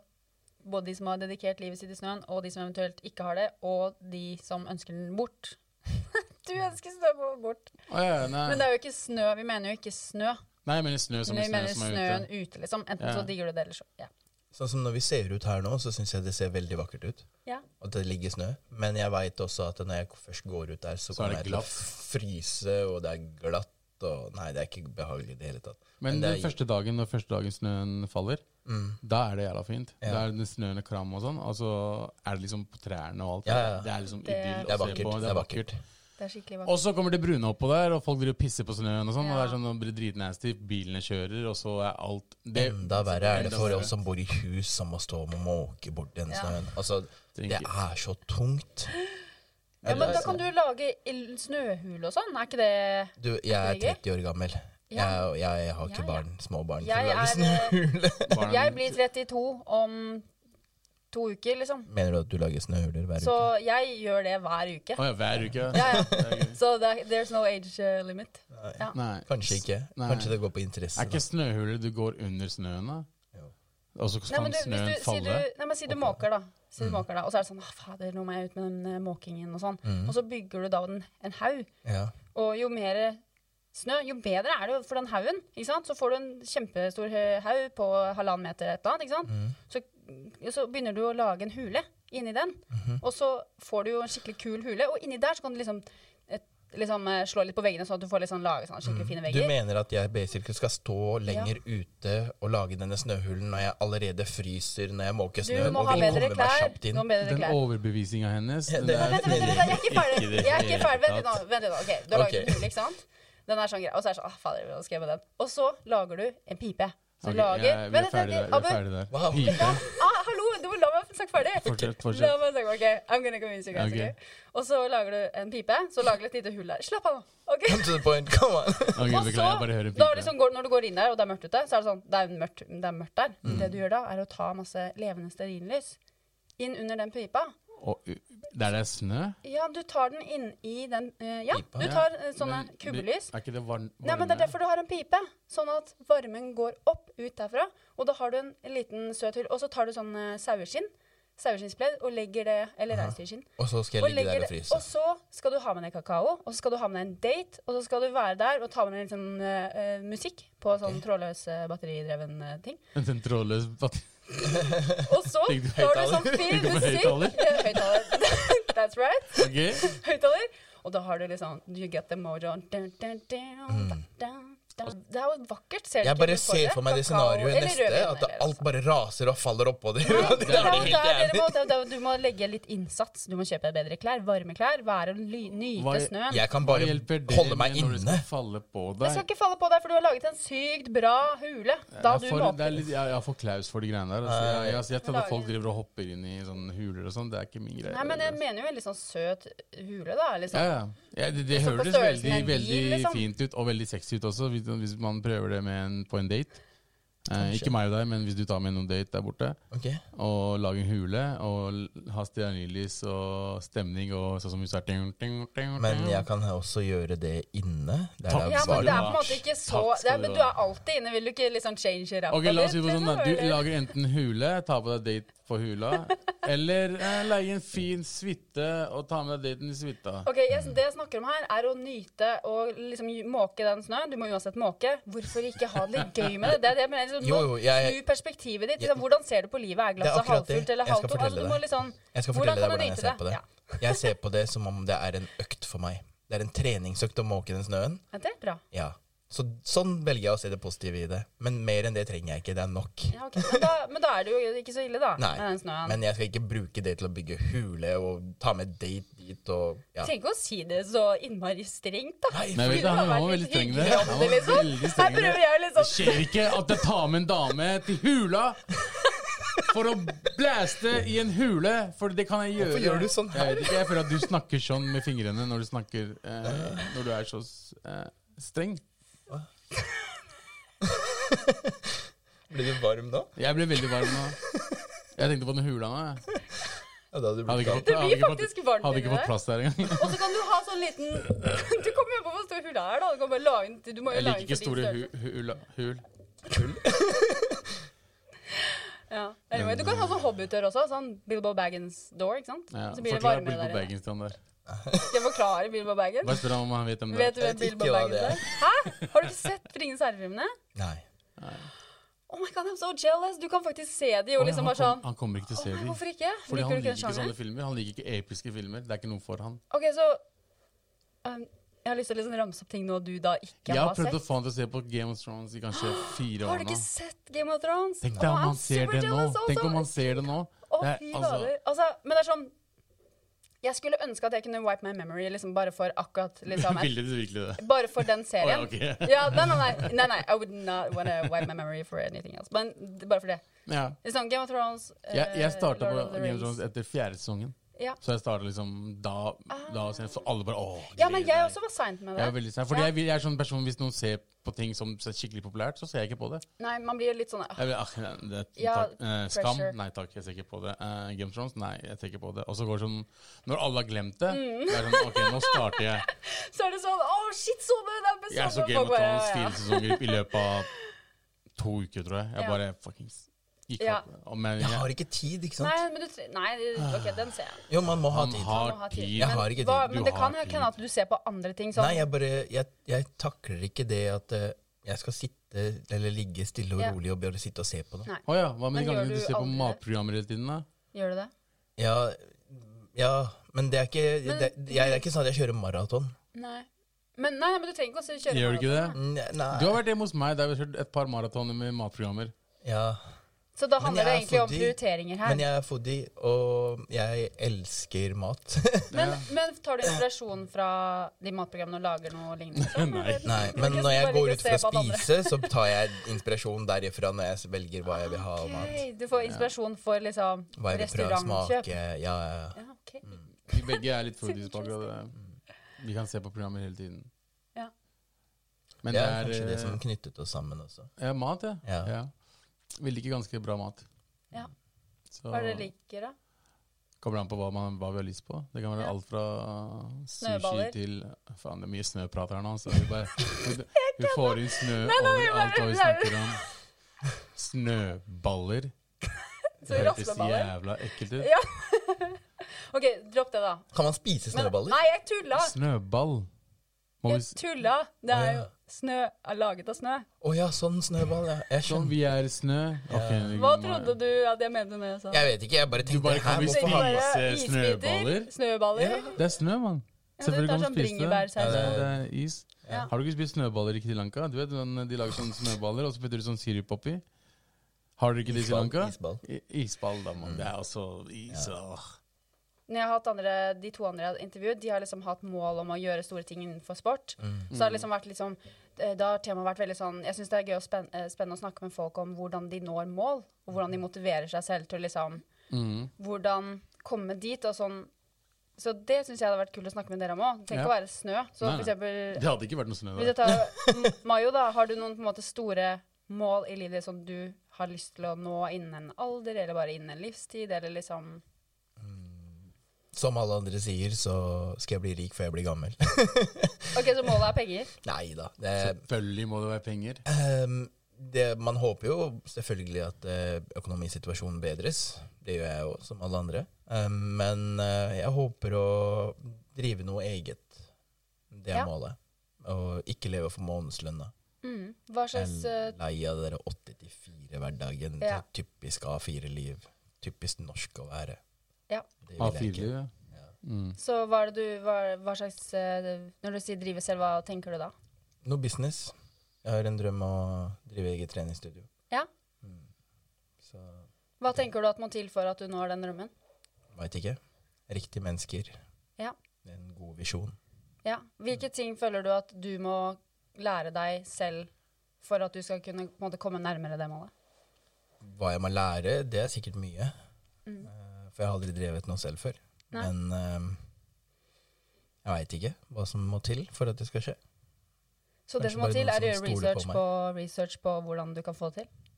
Speaker 3: både de som har dedikert livet sitt i snøen, og de som eventuelt ikke har det, og de som ønsker den bort. du ønsker snø bort.
Speaker 4: Å, ja,
Speaker 3: Men
Speaker 4: nei.
Speaker 3: det er jo ikke snø. Vi mener jo ikke snø.
Speaker 4: nei, jeg mener snø som
Speaker 3: Men
Speaker 4: i
Speaker 3: vi
Speaker 4: snø
Speaker 3: mener
Speaker 4: som er
Speaker 3: snøen
Speaker 4: ute.
Speaker 3: ute, liksom. Enten
Speaker 4: Ja.
Speaker 3: så digger du det, eller så ja.
Speaker 5: Sånn som når vi ser ut her nå, så syns jeg det ser veldig vakkert ut.
Speaker 3: ja.
Speaker 5: At det ligger snø. Men jeg veit også at når jeg først går ut der,
Speaker 4: Så
Speaker 5: så,
Speaker 4: er
Speaker 5: kommer
Speaker 4: det
Speaker 5: jeg til å
Speaker 4: glatt.
Speaker 5: fryse, og det er glatt. Og nei, det er ikke behagelig i det hele tatt.
Speaker 4: Men
Speaker 5: det
Speaker 4: den
Speaker 5: er- Mm.
Speaker 4: første dagen når første dagen snøen faller, da er det jævla fint.
Speaker 5: Ja.
Speaker 4: Da er det snøen og kram og sånn, og så er det liksom på trærne og alt.
Speaker 5: Ja, ja, ja.
Speaker 4: Det er liksom
Speaker 3: Det er-
Speaker 4: idyll
Speaker 5: det er
Speaker 4: å se
Speaker 5: vakkert.
Speaker 4: på.
Speaker 5: Det er vakkert.
Speaker 3: Det er skikkelig
Speaker 4: Og
Speaker 3: vakkert.
Speaker 4: så kommer det brune oppå der, og folk driver og pisser på snøen. Og sånn, og det er
Speaker 3: Ja.
Speaker 4: sånn, det blir dritnasty, bilene kjører, og så er alt det,
Speaker 5: Enda verre er det
Speaker 4: enda
Speaker 5: for
Speaker 4: verre.
Speaker 5: oss som bor i hus, som må stå og måke bort den
Speaker 3: Ja.
Speaker 5: snøen. Altså, det
Speaker 4: Tenker-
Speaker 5: er så tungt.
Speaker 3: Ja, men da kan du lage il- snøhule og sånn, er ikke det
Speaker 5: Du, jeg er
Speaker 3: Birger?
Speaker 5: 30 år gammel.
Speaker 3: Ja.
Speaker 5: Jeg, jeg har
Speaker 3: Ja,
Speaker 5: ikke
Speaker 3: ja.
Speaker 5: barn, små barn til
Speaker 3: Jeg
Speaker 5: å lage
Speaker 3: er-
Speaker 5: snøhule.
Speaker 4: Barna-
Speaker 3: Jeg blir 32 om to uker, liksom.
Speaker 5: Mener du at du lager snøhuler hver
Speaker 3: Så
Speaker 5: uke?
Speaker 3: jeg gjør det hver uke.
Speaker 4: Å ja, hver uke.
Speaker 3: Ja, ja.
Speaker 4: Det er gøy.
Speaker 3: Så det er- there's no age eh, limit. Ja.
Speaker 4: Nei.
Speaker 5: Kanskje ikke.
Speaker 4: Nei.
Speaker 5: Kanskje det går på interesse.
Speaker 4: Er ikke snøhuler du går under snøen, da?
Speaker 5: Jo.
Speaker 4: Og så
Speaker 3: Nei,
Speaker 4: kan
Speaker 3: men du, hvis
Speaker 4: snøen
Speaker 3: du, si du,
Speaker 4: falle? Mm.
Speaker 3: nei, men si du måker, da. Si du måker da, Og så er det sånn «Ah, Fader, nå må jeg ut med den eh, måkingen og sånn.
Speaker 4: Mm.
Speaker 3: Og så bygger du da en, en haug.
Speaker 5: Ja.
Speaker 3: Og jo mer snø, jo bedre er det jo for den haugen. ikke sant? Så får du en kjempestor hø- haug på halvannen meter eller et eller annet. ikke sant?
Speaker 4: Mm.
Speaker 3: Så, og så begynner du å lage en hule inni den.
Speaker 4: Mm-hmm.
Speaker 3: Og så får du jo en skikkelig kul hule, og inni der så kan du liksom, et, liksom eh, slå litt på veggene, sånn at du får liksom lage sånne skikkelig
Speaker 4: Mm.
Speaker 3: fine
Speaker 5: Du
Speaker 3: vegger.
Speaker 5: mener at jeg basically skal stå lenger ute og lage denne snøhulen når jeg allerede fryser når jeg måker
Speaker 3: Du
Speaker 5: snøen
Speaker 3: må
Speaker 5: og
Speaker 3: ha
Speaker 5: vil
Speaker 3: bedre
Speaker 5: komme meg
Speaker 3: klær.
Speaker 5: kjapt
Speaker 3: Du
Speaker 5: inn?
Speaker 3: må ha bedre
Speaker 4: Den
Speaker 3: klær.
Speaker 4: overbevisinga hennes
Speaker 5: Ja,
Speaker 4: den
Speaker 5: det
Speaker 4: er-
Speaker 5: er-
Speaker 3: Vent, vent, vent, vent, jeg er ikke
Speaker 4: Ikke i
Speaker 3: ferdig.
Speaker 4: det
Speaker 3: Jeg er ikke
Speaker 4: hele
Speaker 3: ferdig. Vent litt nå.
Speaker 4: tatt.
Speaker 3: Vent litt nå. Ok, du har laget
Speaker 5: Ok.
Speaker 3: en hule, ikke sant? Den er sånn grei. Og så er det sånn ah, fader, hva skal jeg med den? Og så lager du en pipe. Så
Speaker 4: Ok,
Speaker 3: lager
Speaker 4: jeg- Vi er
Speaker 3: Vent, vent,
Speaker 4: ferdig der.
Speaker 3: vent,
Speaker 4: Vi er
Speaker 3: Abu.
Speaker 4: ferdig der.
Speaker 5: Wow.
Speaker 4: Pipe.
Speaker 3: Ja, ah, hallo, du må la meg snakke ferdig.
Speaker 4: Fortsett,
Speaker 3: La
Speaker 4: fortsett.
Speaker 3: meg snakke, ok. I'm gonna convince you guys,
Speaker 4: Ok.
Speaker 3: ok? Og så lager du en pipe, så lager du et lite hull der. Slapp av nå, ok?
Speaker 5: Come to the point, come on.
Speaker 4: Ok,
Speaker 3: Og
Speaker 4: beklager, jeg bare hører
Speaker 3: så, da
Speaker 4: pipe.
Speaker 3: liksom går, når du går inn der, og det er mørkt ute, så er det sånn, det er mørkt, det er mørkt der.
Speaker 4: Mm.
Speaker 3: Det du gjør da, er å ta masse levende stearinlys inn under den pipa.
Speaker 4: Og, uh, Der det er snø?
Speaker 3: Ja, du tar den inn i den, eh, ja,
Speaker 5: Pipa?
Speaker 3: du
Speaker 4: Ja,
Speaker 3: tar eh, sånne
Speaker 4: men det-
Speaker 3: kubbelys.
Speaker 4: Er ikke det varm, varme?
Speaker 3: Nei, men Det er derfor du har en pipe, sånn at varmen går opp ut derfra. Og da har du en liten søt hull. Og så tar du sånn eh, saueskinn, saueskinnspledd, og legger det Eller reinsdyrskinn.
Speaker 5: Og så skal
Speaker 3: Og,
Speaker 5: jeg ligge
Speaker 3: legger
Speaker 5: der
Speaker 3: det-
Speaker 5: og fryse.
Speaker 3: og så skal du ha med deg kakao, og så skal du ha med deg en date, og så skal du være der og ta med deg litt sånn eh, eh, musikk på sånn trådløs eh, batteridreven eh, ting.
Speaker 4: En sånn trådløs batteri.
Speaker 3: Og så
Speaker 5: Tenkte du
Speaker 3: har du sånn
Speaker 5: høyttaler?
Speaker 3: fin
Speaker 4: Tenkte du på
Speaker 3: musikk.
Speaker 4: høyttaler?
Speaker 3: Ja, Høyttaler. That's right.
Speaker 4: Ok,
Speaker 3: høyttaler. Og da har du liksom You get the mojo. Dun, dun, dun, dun, dun, dun. Det er jo vakkert. Ser du
Speaker 5: Mm. Jeg
Speaker 3: ikke
Speaker 5: bare
Speaker 3: det
Speaker 5: ser
Speaker 3: deg?
Speaker 5: for meg det
Speaker 3: Kakao
Speaker 5: scenarioet
Speaker 3: eller
Speaker 5: neste,
Speaker 3: rødvin
Speaker 5: at det-
Speaker 3: eller
Speaker 5: alt
Speaker 3: sånn.
Speaker 5: bare raser og faller oppå dere.
Speaker 3: Det
Speaker 5: Det er
Speaker 3: er
Speaker 5: det
Speaker 3: jo
Speaker 5: helt
Speaker 3: der dere
Speaker 5: jævlig.
Speaker 3: må, det er der du må legge litt innsats. Du må kjøpe deg bedre klær, varme klær, være og ly- nyte
Speaker 4: Hva-
Speaker 3: snøen.
Speaker 5: Jeg kan
Speaker 4: Hva
Speaker 5: bare
Speaker 4: hjelper det
Speaker 5: holde meg
Speaker 4: med når det
Speaker 5: inne.
Speaker 4: skal falle på
Speaker 3: Det skal
Speaker 4: deg?
Speaker 3: ikke falle på deg, for du har laget en sykt bra hule. Da
Speaker 4: Jeg
Speaker 3: du
Speaker 4: får, det er
Speaker 3: måker.
Speaker 4: litt, jeg, jeg får klaus for de greiene der. Altså, jeg, jeg, jeg, jeg tror
Speaker 3: Lager-
Speaker 4: at folk driver og hopper inn i sånne huler og sånn. Det er ikke min greie.
Speaker 3: Nei, men jeg mener jo en litt sånn søt hule, da.
Speaker 4: ja,
Speaker 3: Liksom.
Speaker 4: ja. ja, det, det
Speaker 3: Liksom på
Speaker 4: høres
Speaker 3: størrelsen
Speaker 4: veldig,
Speaker 3: av en bil,
Speaker 4: veldig
Speaker 3: liksom.
Speaker 4: fint ut, og veldig sexy ut også, hvis, hvis man prøver det med en, på en date. Eh, ikke meg og deg, men hvis du tar med noen date der borte,
Speaker 5: Ok.
Speaker 4: og lager en hule, og l- har stearinlys og stemning og sånn som hun sa ting, ting, ting,
Speaker 5: Men
Speaker 4: ting.
Speaker 5: jeg kan også gjøre det inne. Det er
Speaker 4: Takk
Speaker 5: der
Speaker 3: Ja,
Speaker 4: skal
Speaker 3: men
Speaker 5: bare-
Speaker 3: det er på en måte ikke så
Speaker 4: Takk skal
Speaker 3: det er, men
Speaker 4: du
Speaker 3: Du
Speaker 4: ha.
Speaker 3: er alltid inne. Vil du ikke liksom change rappa
Speaker 4: Ok, la oss si på sånn da. Du
Speaker 3: eller?
Speaker 4: lager enten hule, ta på deg date på hula, eller eh, leie en fin suite og ta med deg daten i suita.
Speaker 3: Ok, jeg, Det jeg snakker om her, er å nyte og liksom ju- måke den snøen. Du må uansett måke. Hvorfor ikke ha det litt gøy med det? Det er det jeg mener. Liksom,
Speaker 5: Jo, jo, jeg-
Speaker 3: snu perspektivet ditt. Liksom, hvordan ser du på livet? Er
Speaker 5: Det er
Speaker 3: glasset
Speaker 5: akkurat det.
Speaker 3: halvfullt eller
Speaker 5: Jeg skal
Speaker 3: halvtomt? Altså,
Speaker 5: fortelle
Speaker 3: du må
Speaker 5: deg.
Speaker 3: liksom
Speaker 5: Jeg skal
Speaker 3: Hvordan kan
Speaker 5: fortelle deg
Speaker 3: du
Speaker 5: hvordan jeg
Speaker 3: nyte
Speaker 5: ser på det.
Speaker 3: Ja.
Speaker 5: Jeg ser på det som om det er en økt for meg. Det er en treningsøkt å måke den snøen.
Speaker 3: Ja, Det er bra.
Speaker 5: Ja. Så, sånn velger jeg å se det positive i det. Men mer enn det trenger jeg ikke. Det er nok.
Speaker 3: Ja, ok. men, da, men da er det jo ikke så ille, da.
Speaker 5: Nei.
Speaker 3: Med den snøen.
Speaker 5: Men jeg skal ikke bruke det til å bygge hule og ta med date dit og ja.
Speaker 3: Du trenger ikke å si det så innmari strengt, da.
Speaker 5: Nei,
Speaker 4: Nei, vet du,
Speaker 3: Det
Speaker 4: han
Speaker 3: hadde
Speaker 4: var
Speaker 3: vært
Speaker 4: veldig
Speaker 3: litt
Speaker 4: streng der.
Speaker 3: hyggelig om
Speaker 4: Han
Speaker 3: det,
Speaker 4: var
Speaker 3: liksom.
Speaker 4: veldig
Speaker 3: Her
Speaker 4: streng der.
Speaker 3: prøver jeg å
Speaker 4: Det
Speaker 3: liksom
Speaker 4: skjer ikke at jeg tar med en dame til hula for å blæste i en hule, for det kan jeg gjøre.
Speaker 5: Hvorfor gjør du sånn her?
Speaker 4: Jeg, vet ikke, jeg føler at du snakker sånn med fingrene når du snakker eh, Når du er så eh, streng.
Speaker 5: Blir du varm nå?
Speaker 4: Jeg ble veldig varm nå. Jeg tenkte på den hula nå. jeg.
Speaker 5: Ja, det
Speaker 4: Hadde
Speaker 5: hadde blitt
Speaker 4: ikke
Speaker 5: kaldt.
Speaker 3: Det
Speaker 4: fått,
Speaker 3: blir
Speaker 4: hadde ikke
Speaker 3: faktisk
Speaker 4: fått,
Speaker 3: varmt
Speaker 4: hadde
Speaker 3: inni
Speaker 4: ikke
Speaker 3: det.
Speaker 4: fått plass der engang.
Speaker 3: Og så kan du ha sånn liten Du kommer jo på hvor stor hul det er, da. Du kan bare lage den til Du må jo
Speaker 4: Jeg
Speaker 3: lage
Speaker 4: liker ikke
Speaker 3: den til
Speaker 4: store
Speaker 3: din
Speaker 4: hu,
Speaker 3: størrelse.
Speaker 4: hul, hul.
Speaker 3: Ja. Anyway, du kan ha sånn hobbiter også. Sånn Bilbo Baggins door, ikke sant?
Speaker 4: Ja,
Speaker 3: så blir det
Speaker 4: Forklar
Speaker 3: varmere
Speaker 4: Bilbo
Speaker 3: der. inne.
Speaker 4: Bagginston der.
Speaker 3: Skal jeg forklare Bilbo Baggins?
Speaker 4: Bare spør ham om han vet om det.
Speaker 3: Vet du hvem
Speaker 5: Jeg vet
Speaker 3: Bilbo
Speaker 5: ikke hva
Speaker 3: Baggins
Speaker 5: det er.
Speaker 3: er? Hæ? Har du ikke sett Ringenes herre-filmene?
Speaker 5: Nei.
Speaker 3: Oh my god, I'm so jealous! Du kan faktisk se de og
Speaker 4: Å, ja,
Speaker 3: liksom
Speaker 4: han,
Speaker 3: bare sånn
Speaker 4: kom, han kommer ikke til å
Speaker 3: «Å
Speaker 4: se
Speaker 3: nei,
Speaker 4: dem.
Speaker 3: Hvorfor ikke?
Speaker 4: Fordi
Speaker 3: Liker
Speaker 4: han
Speaker 3: du ikke
Speaker 4: liker
Speaker 3: den
Speaker 4: ikke
Speaker 3: sjangeren?
Speaker 4: sånne filmer. Han liker ikke episke filmer. Det er ikke noe for han.
Speaker 3: Ok, så um, Jeg har lyst til å liksom ramse opp ting nå du da ikke
Speaker 4: Jeg har
Speaker 3: har
Speaker 4: prøvd å
Speaker 3: sett.
Speaker 4: få han til å se på Game of Thrones i kanskje fire
Speaker 3: Har
Speaker 4: år
Speaker 3: du
Speaker 4: nå.
Speaker 3: ikke sett Game of Thrones?
Speaker 4: Tenk deg
Speaker 3: Å,
Speaker 4: om
Speaker 3: I'm
Speaker 4: han ser
Speaker 3: super
Speaker 4: det nå!
Speaker 3: jealous
Speaker 4: Tenk
Speaker 3: also.
Speaker 4: om han ser det nå!
Speaker 3: Å,
Speaker 4: Det er-
Speaker 3: fy
Speaker 4: altså,
Speaker 3: fader. Altså, men det er sånn Jeg skulle ønske at jeg kunne wipe my memory liksom bare for akkurat liksom, et,
Speaker 4: Bildet ditt virkelig det.
Speaker 3: Bare for den serien.
Speaker 4: Å, ja, ok.
Speaker 3: ja, nei, nei, nei, nei, nei. I would not want to wipe my memory for anything else. Men d- bare for det.
Speaker 4: Ja.
Speaker 3: Det er sånn Game of Thrones eh,
Speaker 4: Jeg, jeg starta
Speaker 3: Lord
Speaker 4: på
Speaker 3: of the
Speaker 4: Game
Speaker 3: Rings.
Speaker 4: of Thrones etter fjerde sesongen.
Speaker 3: Ja.
Speaker 4: Så jeg starta liksom da, da og sen- Så alle bare åh,
Speaker 3: Ah. ja, men
Speaker 4: gleder
Speaker 3: jeg
Speaker 4: deg».
Speaker 3: også var seint med det.
Speaker 4: Jeg er veldig sær. Fordi
Speaker 3: Ja.
Speaker 4: jeg, vil- jeg er sånn person Hvis noen ser på ting som er skikkelig populært, så ser jeg ikke på det.
Speaker 3: Nei, man blir litt sånn ah,
Speaker 4: Jeg vil, ah, det, det,
Speaker 3: Ja,
Speaker 4: takk, eh, skam?
Speaker 3: pressure.
Speaker 4: Nei takk, jeg ser ikke på det. Eh, Game of Thrones? Nei, jeg ser ikke på det. Og så går det sånn Når alle har glemt det,
Speaker 3: Mm.
Speaker 4: det er sånn OK, nå starter jeg.
Speaker 3: Så er det sånn Å, shit, så du den episoden?
Speaker 4: Jeg så
Speaker 3: Folk
Speaker 4: Game of
Speaker 3: bare,
Speaker 4: Thrones
Speaker 3: ja, ja.
Speaker 4: fire sesonger i løpet av to uker, tror jeg. Jeg
Speaker 3: Ja.
Speaker 4: bare fuckings gikk
Speaker 3: Ja.
Speaker 4: opp. Og Men
Speaker 5: Jeg
Speaker 4: jeg,
Speaker 5: har ikke tid, ikke
Speaker 3: Nei,
Speaker 5: sant?
Speaker 3: men du tre... Nei, OK, den ser jeg.
Speaker 5: Jo, man må ha
Speaker 4: han
Speaker 5: tid.
Speaker 3: Man må
Speaker 4: har
Speaker 3: ha
Speaker 4: tid.
Speaker 5: Jeg har ikke
Speaker 3: Hva,
Speaker 5: tid.
Speaker 3: men
Speaker 4: Du
Speaker 3: det
Speaker 4: har
Speaker 3: kan jo
Speaker 4: tid.
Speaker 3: hende at du ser på andre ting sånn.
Speaker 5: Nei, jeg bare Jeg, jeg takler ikke det at eh, jeg skal sitte eller ligge stille og
Speaker 3: Ja.
Speaker 5: rolig og bare sitte og se på det.
Speaker 3: Nei.
Speaker 4: Å ja, hva med
Speaker 3: Men
Speaker 4: de gangene
Speaker 3: gjør
Speaker 4: du
Speaker 3: du
Speaker 4: ser på
Speaker 3: aldri det?
Speaker 4: matprogrammer hele tiden, da?
Speaker 3: Gjør du det?
Speaker 5: Ja, ja men det er ikke
Speaker 3: Men-
Speaker 5: det, jeg, det er ikke sånn at jeg kjører maraton.
Speaker 3: Nei. Men, nei, men du trenger ikke å kjøre
Speaker 4: Gjør du ikke det?
Speaker 3: maraton,
Speaker 5: Nei.
Speaker 4: Du har vært hjemme hos meg, der vi har kjørt et par maratoner med matprogrammer.
Speaker 5: Ja.
Speaker 3: da. Så da
Speaker 5: Men
Speaker 3: handler det
Speaker 5: jeg er
Speaker 3: egentlig om
Speaker 5: fordi-
Speaker 3: prioriteringer her.
Speaker 5: Men jeg er foodie, og jeg elsker mat.
Speaker 3: Men, men tar du inspirasjon fra de matprogrammene og lager noe lignende? sånn,
Speaker 4: Nei.
Speaker 3: eller?
Speaker 5: Nei, men
Speaker 3: Ikke
Speaker 5: når jeg
Speaker 3: bare
Speaker 5: går
Speaker 3: ikke
Speaker 5: ut
Speaker 3: se
Speaker 5: for å
Speaker 3: på alle andre.
Speaker 5: spise, så tar jeg inspirasjon derifra når jeg velger hva jeg vil ha av mat.
Speaker 3: Ok, Du får inspirasjon for liksom
Speaker 5: Hva jeg vil prøve å
Speaker 3: restaurantkjøp.
Speaker 5: smake. Mm. Ja, ja, ja.
Speaker 3: Ja, ok.
Speaker 4: Vi begge er litt foodies på akkurat det. Vi kan se på programmer hele tiden.
Speaker 3: Ja.
Speaker 4: Men
Speaker 5: Det er sånn
Speaker 4: det
Speaker 5: kanskje
Speaker 4: er
Speaker 5: det som
Speaker 4: eh,
Speaker 5: knyttet oss sammen også.
Speaker 4: ja, mat, ja.
Speaker 5: Ja.
Speaker 4: ja. Vi liker ganske bra mat.
Speaker 3: Ja.
Speaker 4: Så
Speaker 3: Hva er det du liker, da?
Speaker 4: kommer det an på hva, man, hva vi har lyst på. Det kan være
Speaker 3: Ja.
Speaker 4: alt fra uh, sushi
Speaker 3: Snøballer.
Speaker 4: til Faen, det er mye snøprat her nå. Så vi, bare, vi får inn snø overalt hva vi snakker om. Snøballer.
Speaker 3: Så
Speaker 4: Det høres
Speaker 3: raspeballer.
Speaker 4: jævla ekkelt ut.
Speaker 3: Ja. OK, dropp det, da.
Speaker 5: Kan man spise
Speaker 3: Men-
Speaker 5: snøballer?
Speaker 3: Nei, jeg tulla!
Speaker 4: Snøball. Må vi,
Speaker 3: Jeg
Speaker 4: s-
Speaker 3: tulla! Det er
Speaker 5: Å,
Speaker 3: jo
Speaker 5: ja.
Speaker 3: snø er laget av snø.
Speaker 5: Å ja, sånn snøball. Ja. Jeg
Speaker 4: sånn,
Speaker 5: skjønner.
Speaker 4: vi er i snø. Ok,
Speaker 3: Hva
Speaker 4: må-
Speaker 3: trodde du at jeg mente når jeg sa
Speaker 5: Jeg vet ikke, jeg bare tenkte
Speaker 4: bare kan
Speaker 5: her,
Speaker 4: vi
Speaker 5: hvorfor
Speaker 4: spise-
Speaker 5: har vi-
Speaker 3: Bare
Speaker 4: Spise snøballer?
Speaker 3: Snøballer?
Speaker 5: Ja.
Speaker 4: Det er snø, mann.
Speaker 3: Ja,
Speaker 4: Selvfølgelig
Speaker 3: det
Speaker 4: kan
Speaker 3: er
Speaker 4: man
Speaker 3: sånn
Speaker 4: spise det.
Speaker 3: bringebærsaus.
Speaker 4: Ja, det er is.
Speaker 3: Ja.
Speaker 4: Har du ikke spist snøballer i Sri Lanka? Du vet, den- De lager sånne snøballer, og så putter de sånn sirup oppi. Har dere ikke det i Sri
Speaker 5: Isball,
Speaker 4: Lanka?
Speaker 5: isball.
Speaker 4: I- Isball, da, mann. Det er også is. åh.
Speaker 3: Når jeg har hatt andre, De to andre jeg har intervjuet, de har liksom hatt mål om å gjøre store ting innenfor sport.
Speaker 4: Mm.
Speaker 3: Så det har liksom vært liksom, eh, da har temaet vært veldig sånn Jeg syns det er gøy og spenn, eh, spennende å snakke med folk om hvordan de når mål, og hvordan de motiverer seg selv til å liksom
Speaker 4: Mm.
Speaker 3: Hvordan komme dit og sånn. Så det syns jeg hadde vært kult å snakke med dere om òg. Tenk
Speaker 4: Ja.
Speaker 3: å være snø. Så for
Speaker 4: Nei, nei.
Speaker 3: eksempel
Speaker 4: Det hadde ikke vært noe snø
Speaker 3: Hvis jeg
Speaker 4: der.
Speaker 3: tar M- Mayo, da, har du noen på en måte store mål i livet som du har lyst til å nå innen en alder, eller bare innen en livstid, eller liksom
Speaker 5: Som alle andre sier, så skal jeg bli rik før jeg blir gammel.
Speaker 3: OK, så målet er penger?
Speaker 5: Nei da. Det,
Speaker 4: Selvfølgelig må det være penger.
Speaker 5: ehm, det, man håper jo selvfølgelig at eh, økonomisituasjonen bedres. Det gjør jeg jo, som alle andre. Ehm, men eh, jeg håper å drive noe eget. Det er
Speaker 3: Ja.
Speaker 5: målet. Og ikke leve for månedslønna.
Speaker 3: Mm. Hva
Speaker 5: Jeg
Speaker 3: slags
Speaker 5: er
Speaker 3: eh,
Speaker 5: lei av det 8-4-hverdagen.
Speaker 3: Ja.
Speaker 5: Typisk A4-liv. Typisk norsk å være.
Speaker 3: Ja.
Speaker 5: Det vil jeg ikke.
Speaker 4: A4-liv, Ah, ja. Mm.
Speaker 3: Så hva er det du hva, hva slags eh, Når du sier drive selv, hva tenker du da?
Speaker 5: Noe business. Jeg har en drøm å drive eget treningsstudio.
Speaker 3: Ja?
Speaker 5: Så
Speaker 3: Hva tenker du at må til for at du når den drømmen?
Speaker 5: veit ikke. Riktige mennesker.
Speaker 3: Ja.
Speaker 5: En god visjon.
Speaker 3: ja. Hvilke ting føler du at du må lære deg selv for at du skal kunne på en måte, komme nærmere det målet?
Speaker 5: Hva jeg må lære, det er sikkert mye. Eh, For jeg har aldri drevet noe selv før.
Speaker 3: Mm. Nei.
Speaker 5: Men eh, jeg veit ikke hva som må til for at det skal skje.
Speaker 3: Så det
Speaker 5: Kanskje
Speaker 3: som må
Speaker 5: bare
Speaker 3: til,
Speaker 5: noen
Speaker 3: er å gjøre
Speaker 5: som stoler på
Speaker 3: research
Speaker 5: meg.
Speaker 3: på, research på hvordan du kan få det til?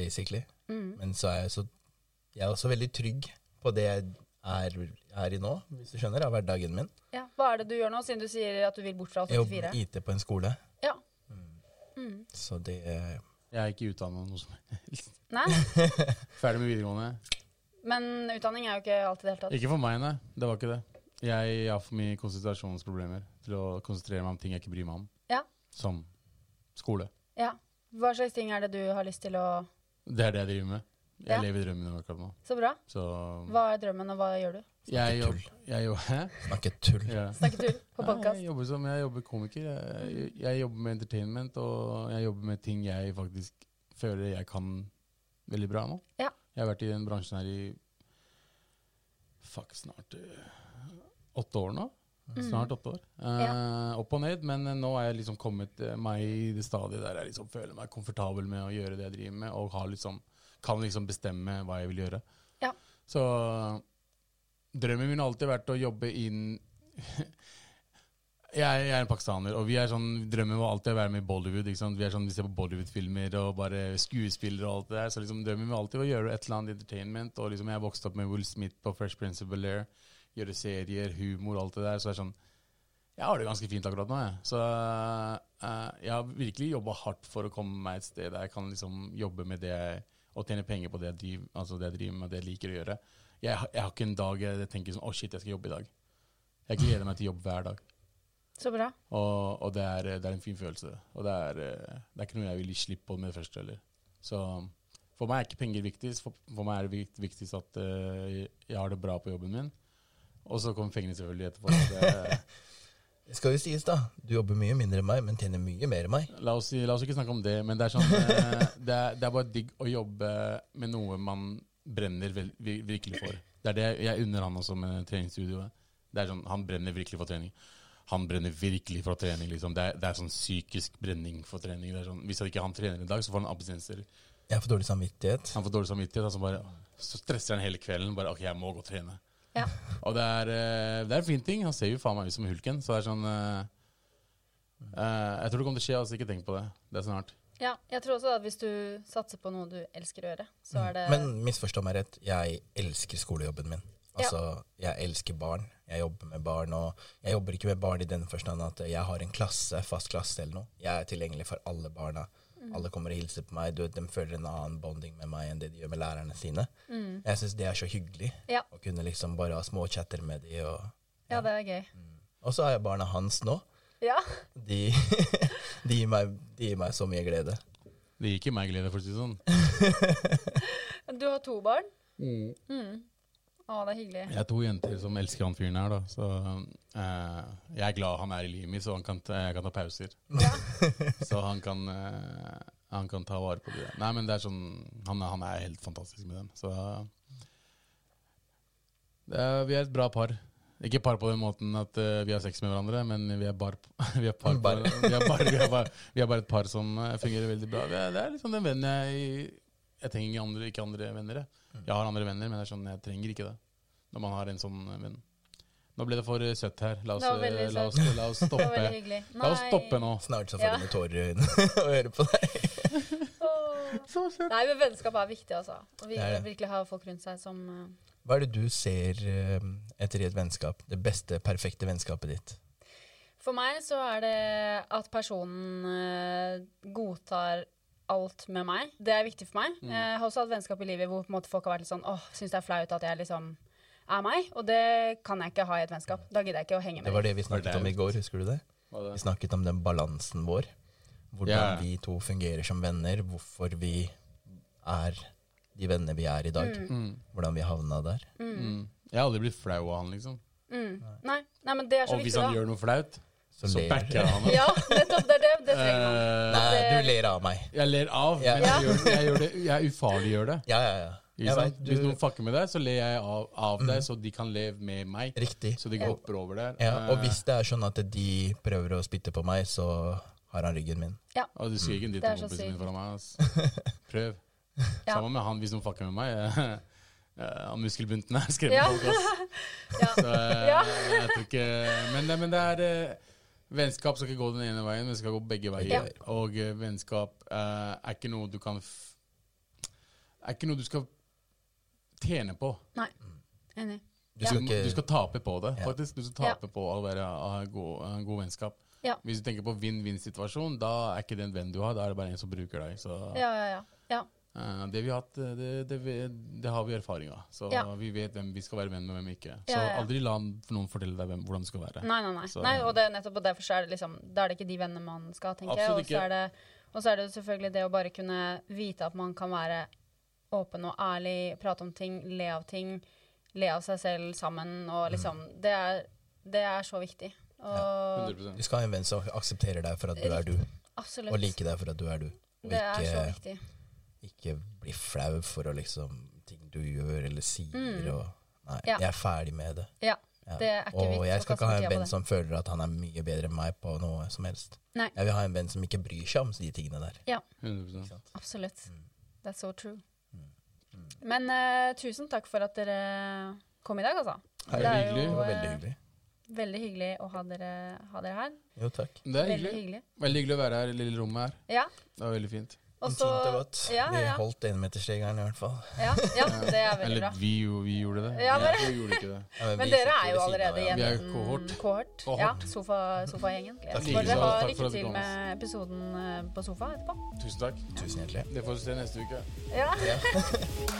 Speaker 5: Basically.
Speaker 3: Mm.
Speaker 5: Men så er jeg så Jeg er også veldig trygg på det jeg er, er i nå, hvis du skjønner, av hverdagen min.
Speaker 3: Ja. Hva er det du gjør nå, siden du sier at du vil bort fra
Speaker 5: Jeg
Speaker 3: 84?
Speaker 5: jobber med Mm. IT på en skole,
Speaker 3: Ja. Mm.
Speaker 5: så det eh,
Speaker 4: Jeg er ikke utdanna noe som helst.
Speaker 3: Nei,
Speaker 4: Ferdig med videregående.
Speaker 3: men utdanning er jo ikke alt i det hele tatt.
Speaker 4: Ikke for meg, nei. Det var ikke det. Jeg har for mye konsentrasjonsproblemer til å konsentrere meg om ting jeg ikke bryr meg om.
Speaker 3: Ja.
Speaker 4: Som skole.
Speaker 3: Ja. Hva slags ting er det du har lyst til å
Speaker 4: Det er det jeg driver med. Jeg
Speaker 3: Ja.
Speaker 4: lever drømmen om akkurat nå.
Speaker 3: Så bra.
Speaker 4: Så
Speaker 3: Hva er drømmen, og hva gjør du?
Speaker 4: jeg
Speaker 5: tull.
Speaker 4: jobber, jeg jobber, Hæ?
Speaker 5: snakke tull.
Speaker 4: Ja.
Speaker 3: Snakke tull på
Speaker 4: Nei,
Speaker 3: podkast.
Speaker 4: Jeg jobber som jeg jobber komiker. Jeg, jeg jobber med entertainment, og jeg jobber med ting jeg faktisk føler jeg kan veldig bra nå.
Speaker 3: Ja.
Speaker 4: Jeg har vært i den bransjen her i fuck, snart eh, åtte år nå.
Speaker 3: Mm.
Speaker 4: Snart åtte år. Eh, Opp og ned, men eh, nå er jeg liksom kommet eh, meg i det stadiet der jeg liksom føler meg komfortabel med å gjøre det jeg driver med, og har liksom, kan liksom bestemme hva jeg vil gjøre.
Speaker 3: Ja.
Speaker 4: Så drømmen min har alltid vært å jobbe inn jeg, jeg er en pakistaner, og vi er sånn, drømmen var alltid å være med i Bollywood. Ikke sant? Vi er sånn, vi ser på Bollywood-filmer og bare skuespillere og alt det der. Så liksom, drømmen var alltid å gjøre et eller annet entertainment. Og liksom, jeg vokste opp med Will Smith på Fresh Prince of Bel-Air. Gjøre serier, humor og alt det der. Så det er sånn, jeg har det ganske fint akkurat nå, jeg. Så eh, jeg har virkelig jobba hardt for å komme meg et sted der jeg kan liksom jobbe med det jeg, og tjene penger på det jeg driver, altså det jeg driver med, det jeg liker å gjøre. Jeg, har- jeg har ikke en dag jeg tenker sånn Å, shit, jeg skal jobbe i dag. Jeg gleder meg til jobb hver dag.
Speaker 3: Så bra.
Speaker 4: Og, og det, er, det er en fin følelse. Og det er, eh, det er ikke noe jeg vil gi slipp på med det første heller. Så for meg er ikke penger viktigst. For, for meg er det vikt, viktigst at eh, jeg har det bra på jobben min. Og så kommer pengene selvfølgelig etterpå. så Det,
Speaker 5: Det skal jo sies, da. Du jobber mye mindre enn meg, men tjener mye mer enn meg.
Speaker 4: la, oss, si- la oss ikke snakke om det, men det er, sånn, eh, det, er, det er bare digg å jobbe med noe man brenner vel, vir- virkelig for. Det er det jeg- jeg unner han også med treningsstudioet. Det er sånn, Han brenner virkelig for trening. Han brenner virkelig for trening. liksom. Det er, det er sånn psykisk brenning for trening. Det er sånn, hvis ikke han trener i dag, så får han abstinenser.
Speaker 5: Jeg har for dårlig samvittighet.
Speaker 4: Han får dårlig samvittighet, og så, bare, så stresser han hele kvelden. Bare, ok, jeg må gå og trene.
Speaker 3: Ja.
Speaker 4: Og det er, eh, det er en fin ting. Han ser jo faen meg ut som hulken. Så det er sånn eh, eh, Jeg tror det kommer til å skje, altså. Ikke tenk på det. Det er snart.
Speaker 3: ja. Jeg tror også at hvis du satser på noe du elsker å gjøre, så
Speaker 4: Mm.
Speaker 3: er det
Speaker 5: Men misforstå meg rett, jeg elsker skolejobben min. Altså, jeg elsker barn. Jeg jobber med barn, og jeg jobber ikke med barn i den forstand at jeg har en klasse, fast klasse eller noe. Jeg er tilgjengelig for alle barna. Alle kommer og hilser på meg. Du, vet, de føler en annen bonding med meg enn det de gjør med lærerne sine. Jeg syns det er så hyggelig
Speaker 3: Ja.
Speaker 5: å kunne liksom bare ha småchatter med de. Og, mm.
Speaker 3: Ja, det er gøy.
Speaker 4: Mm.
Speaker 5: og så har jeg barna hans nå.
Speaker 3: Ja.
Speaker 5: De, de, gir meg, de gir meg så mye glede.
Speaker 4: Det gir ikke meg glede, for å si det sånn.
Speaker 3: Du har to barn? Mm. Å, det er hyggelig.
Speaker 4: Jeg har to jenter som elsker han fyren her, da. Så eh, jeg er glad han er i livet mitt, så han kan, ta- jeg kan ta pauser. så han kan, eh, han kan ta vare på det. Nei, men det er sånn Han, er- han er helt fantastisk med dem. Så det er, vi er et bra par. Ikke par på den måten at eh, vi har sex med hverandre, men vi er bar, vi er par
Speaker 5: Bar.
Speaker 4: På, vi, er bar, vi, er bar, vi er bare et par som eh, fungerer veldig bra. Vi er, det er liksom den vennen jeg Jeg trenger ikke andre, ikke andre venner. jeg. Jeg har andre venner, men det er sånn, jeg trenger ikke det når man har en sånn eh, venn. Nå ble det for eh, søtt her. La oss,
Speaker 3: Det var
Speaker 4: eh,
Speaker 3: veldig
Speaker 4: la oss, la oss
Speaker 3: Det var
Speaker 4: stoppe.
Speaker 3: veldig hyggelig.
Speaker 4: La oss stoppe nå.
Speaker 5: Snart så får
Speaker 3: Ja.
Speaker 5: du noen tårer i øynene å høre på deg.
Speaker 3: Åh. Nei, men vennskap er viktig, altså. Og vi
Speaker 5: Det er det.
Speaker 3: virkelig har folk rundt seg som eh,
Speaker 5: Hva er det du ser eh, etter i et vennskap? Det beste, perfekte vennskapet ditt?
Speaker 3: For meg så er det at personen eh, godtar alt med meg. Det er viktig for meg. Jeg har også hatt vennskap i livet hvor på en måte folk har vært litt sånn åh, syns det er flaut at jeg liksom er meg. Og det kan jeg ikke ha i et vennskap. Da gidder jeg ikke å henge
Speaker 5: Det
Speaker 3: med.
Speaker 5: var det vi snakket
Speaker 4: det
Speaker 5: om i går, husker du det?
Speaker 4: Hva
Speaker 5: Vi
Speaker 4: det?
Speaker 5: snakket om den balansen vår. Hvordan
Speaker 4: Ja.
Speaker 5: vi to fungerer som venner, hvorfor vi er de vennene vi er i dag. Hvordan vi havna der.
Speaker 4: Mm. Jeg har aldri blitt flau av han, liksom.
Speaker 3: dem. Nei. Nei, men det er så
Speaker 4: Og hvis
Speaker 3: viktig,
Speaker 4: han
Speaker 3: da.
Speaker 4: gjør noe flaut,
Speaker 5: Så
Speaker 4: så
Speaker 5: ler-
Speaker 4: backer jeg han.
Speaker 3: Ja, nettopp. Det er det. Det trenger man.
Speaker 4: Eh,
Speaker 5: Nei, du ler av meg.
Speaker 4: jeg ler av,
Speaker 5: Ja.
Speaker 4: men jeg, gjør, jeg, gjør det, jeg ufarliggjør det.
Speaker 5: Ja, ja, ja.
Speaker 4: Ikke
Speaker 5: Jeg
Speaker 4: sant?
Speaker 5: vet, du, Mm.
Speaker 4: Hvis noen fucker med deg, så ler jeg av, av deg, så de kan leve med meg.
Speaker 5: Riktig.
Speaker 4: Så de går hopper over der.
Speaker 5: Ja, og
Speaker 4: Eh,
Speaker 5: hvis det er sånn at de prøver å spytte på meg, så har han ryggen min.
Speaker 4: og du sier
Speaker 5: Mm.
Speaker 4: ikke en dritt
Speaker 3: Det er
Speaker 4: om
Speaker 3: så
Speaker 4: kompisen min
Speaker 3: sykt.
Speaker 4: foran meg. ass. Prøv.
Speaker 3: Ja.
Speaker 4: Sammen med han hvis noen fucker med meg. eh, Han muskelbunten er skrevet
Speaker 3: Ja.
Speaker 4: folk, ass.
Speaker 3: Ja.
Speaker 4: Så eh,
Speaker 3: Ja.
Speaker 4: jeg tror ikke men, det- men det er eh, Vennskap skal ikke gå den ene veien, men det skal gå begge veier.
Speaker 5: Ja.
Speaker 4: Og eh, vennskap eh, er ikke noe du kan f Er ikke noe du skal tjene på.
Speaker 3: Nei. Enig.
Speaker 5: Du skal
Speaker 4: Du,
Speaker 5: ikke
Speaker 4: må- du skal tape på det,
Speaker 5: Ja.
Speaker 4: faktisk. Du skal tape på å være ha god, ha god vennskap.
Speaker 3: Ja.
Speaker 4: Hvis du tenker på vinn-vinn-situasjon, da er ikke det en venn du har, da er det bare en som bruker deg. Så
Speaker 3: Ja, ja, ja. ja.
Speaker 4: eh, det vi har hatt, eh, det, det, vi- det har vi erfaring av. Så
Speaker 3: Ja.
Speaker 4: vi vet hvem vi skal være venn med, hvem ikke. Så
Speaker 3: Ja, ja.
Speaker 4: aldri la noen fortelle deg hvem, hvordan du skal være.
Speaker 3: Nei, nei, nei.
Speaker 4: Så-
Speaker 3: nei og det er nettopp og derfor så er det liksom Da er det ikke de vennene man skal ha, tenker jeg. Og
Speaker 4: Absolutt
Speaker 3: så
Speaker 4: ikke.
Speaker 3: er det, og så er det jo selvfølgelig det å bare kunne vite at man kan være åpen og ærlig, prate om ting, le av ting, le av seg selv sammen
Speaker 4: Mm.
Speaker 3: og liksom Det er, det er så viktig. Og
Speaker 4: 100
Speaker 5: Du skal ha en venn som aksepterer deg for at du er du,
Speaker 3: absolutt.
Speaker 5: og liker deg for at du er du. Og
Speaker 3: det er så
Speaker 5: ikke,
Speaker 3: viktig.
Speaker 5: ikke bli flau for å liksom ting du gjør eller sier og Nei,
Speaker 3: Mm. Ja.
Speaker 5: jeg er ferdig med det.
Speaker 3: Ja.
Speaker 5: Ja.
Speaker 3: Det er ikke
Speaker 5: og
Speaker 3: vits
Speaker 5: jeg
Speaker 3: å
Speaker 5: skal
Speaker 3: kaste
Speaker 5: ikke ha
Speaker 3: tida
Speaker 5: en
Speaker 3: på
Speaker 5: venn
Speaker 3: det.
Speaker 5: som føler at han er mye bedre enn meg på noe som helst.
Speaker 3: Nei.
Speaker 5: Jeg vil ha en venn som ikke bryr seg om de tingene der.
Speaker 3: Ja.
Speaker 4: 100
Speaker 3: Absolutt.
Speaker 5: Mm.
Speaker 3: That's so true. Men eh, tusen takk for at dere kom i dag, altså.
Speaker 5: Hei,
Speaker 3: Det er jo,
Speaker 4: hyggelig.
Speaker 5: Det var
Speaker 3: eh,
Speaker 5: veldig hyggelig.
Speaker 3: veldig hyggelig å ha dere, ha dere her.
Speaker 5: Jo, takk.
Speaker 4: Det er
Speaker 3: Veldig
Speaker 4: hyggelig.
Speaker 3: hyggelig.
Speaker 4: Veldig hyggelig å være her i lille rommet her.
Speaker 3: Ja.
Speaker 4: Det var veldig fint.
Speaker 3: Og så
Speaker 5: Intimt og godt.
Speaker 3: ja,
Speaker 5: Vi
Speaker 3: ja,
Speaker 5: holdt enmetersregelen i hvert fall.
Speaker 3: ja, ja, det er veldig
Speaker 4: Eller
Speaker 3: bra.
Speaker 4: vi, jo- vi gjorde det.
Speaker 3: Ja, men-
Speaker 4: vi gjorde ikke det.
Speaker 5: Ja,
Speaker 3: Men
Speaker 5: vi
Speaker 3: dere
Speaker 5: sitter
Speaker 3: er
Speaker 5: ved
Speaker 3: jo
Speaker 5: siden av
Speaker 3: allerede i
Speaker 5: hverandre.
Speaker 4: Vi er jo
Speaker 3: en
Speaker 4: kohort.
Speaker 3: kohort.
Speaker 4: Kohort.
Speaker 3: Ja, sofa, sofagjengen.
Speaker 5: Takk
Speaker 3: Så dere
Speaker 5: for
Speaker 4: at
Speaker 3: har
Speaker 4: du
Speaker 3: lykke
Speaker 4: kom,
Speaker 3: til
Speaker 4: ass.
Speaker 3: med episoden eh, på sofa etterpå.
Speaker 4: Tusen takk.
Speaker 5: Tusen hjertelig.
Speaker 4: Det får vi se neste uke.
Speaker 3: Ja.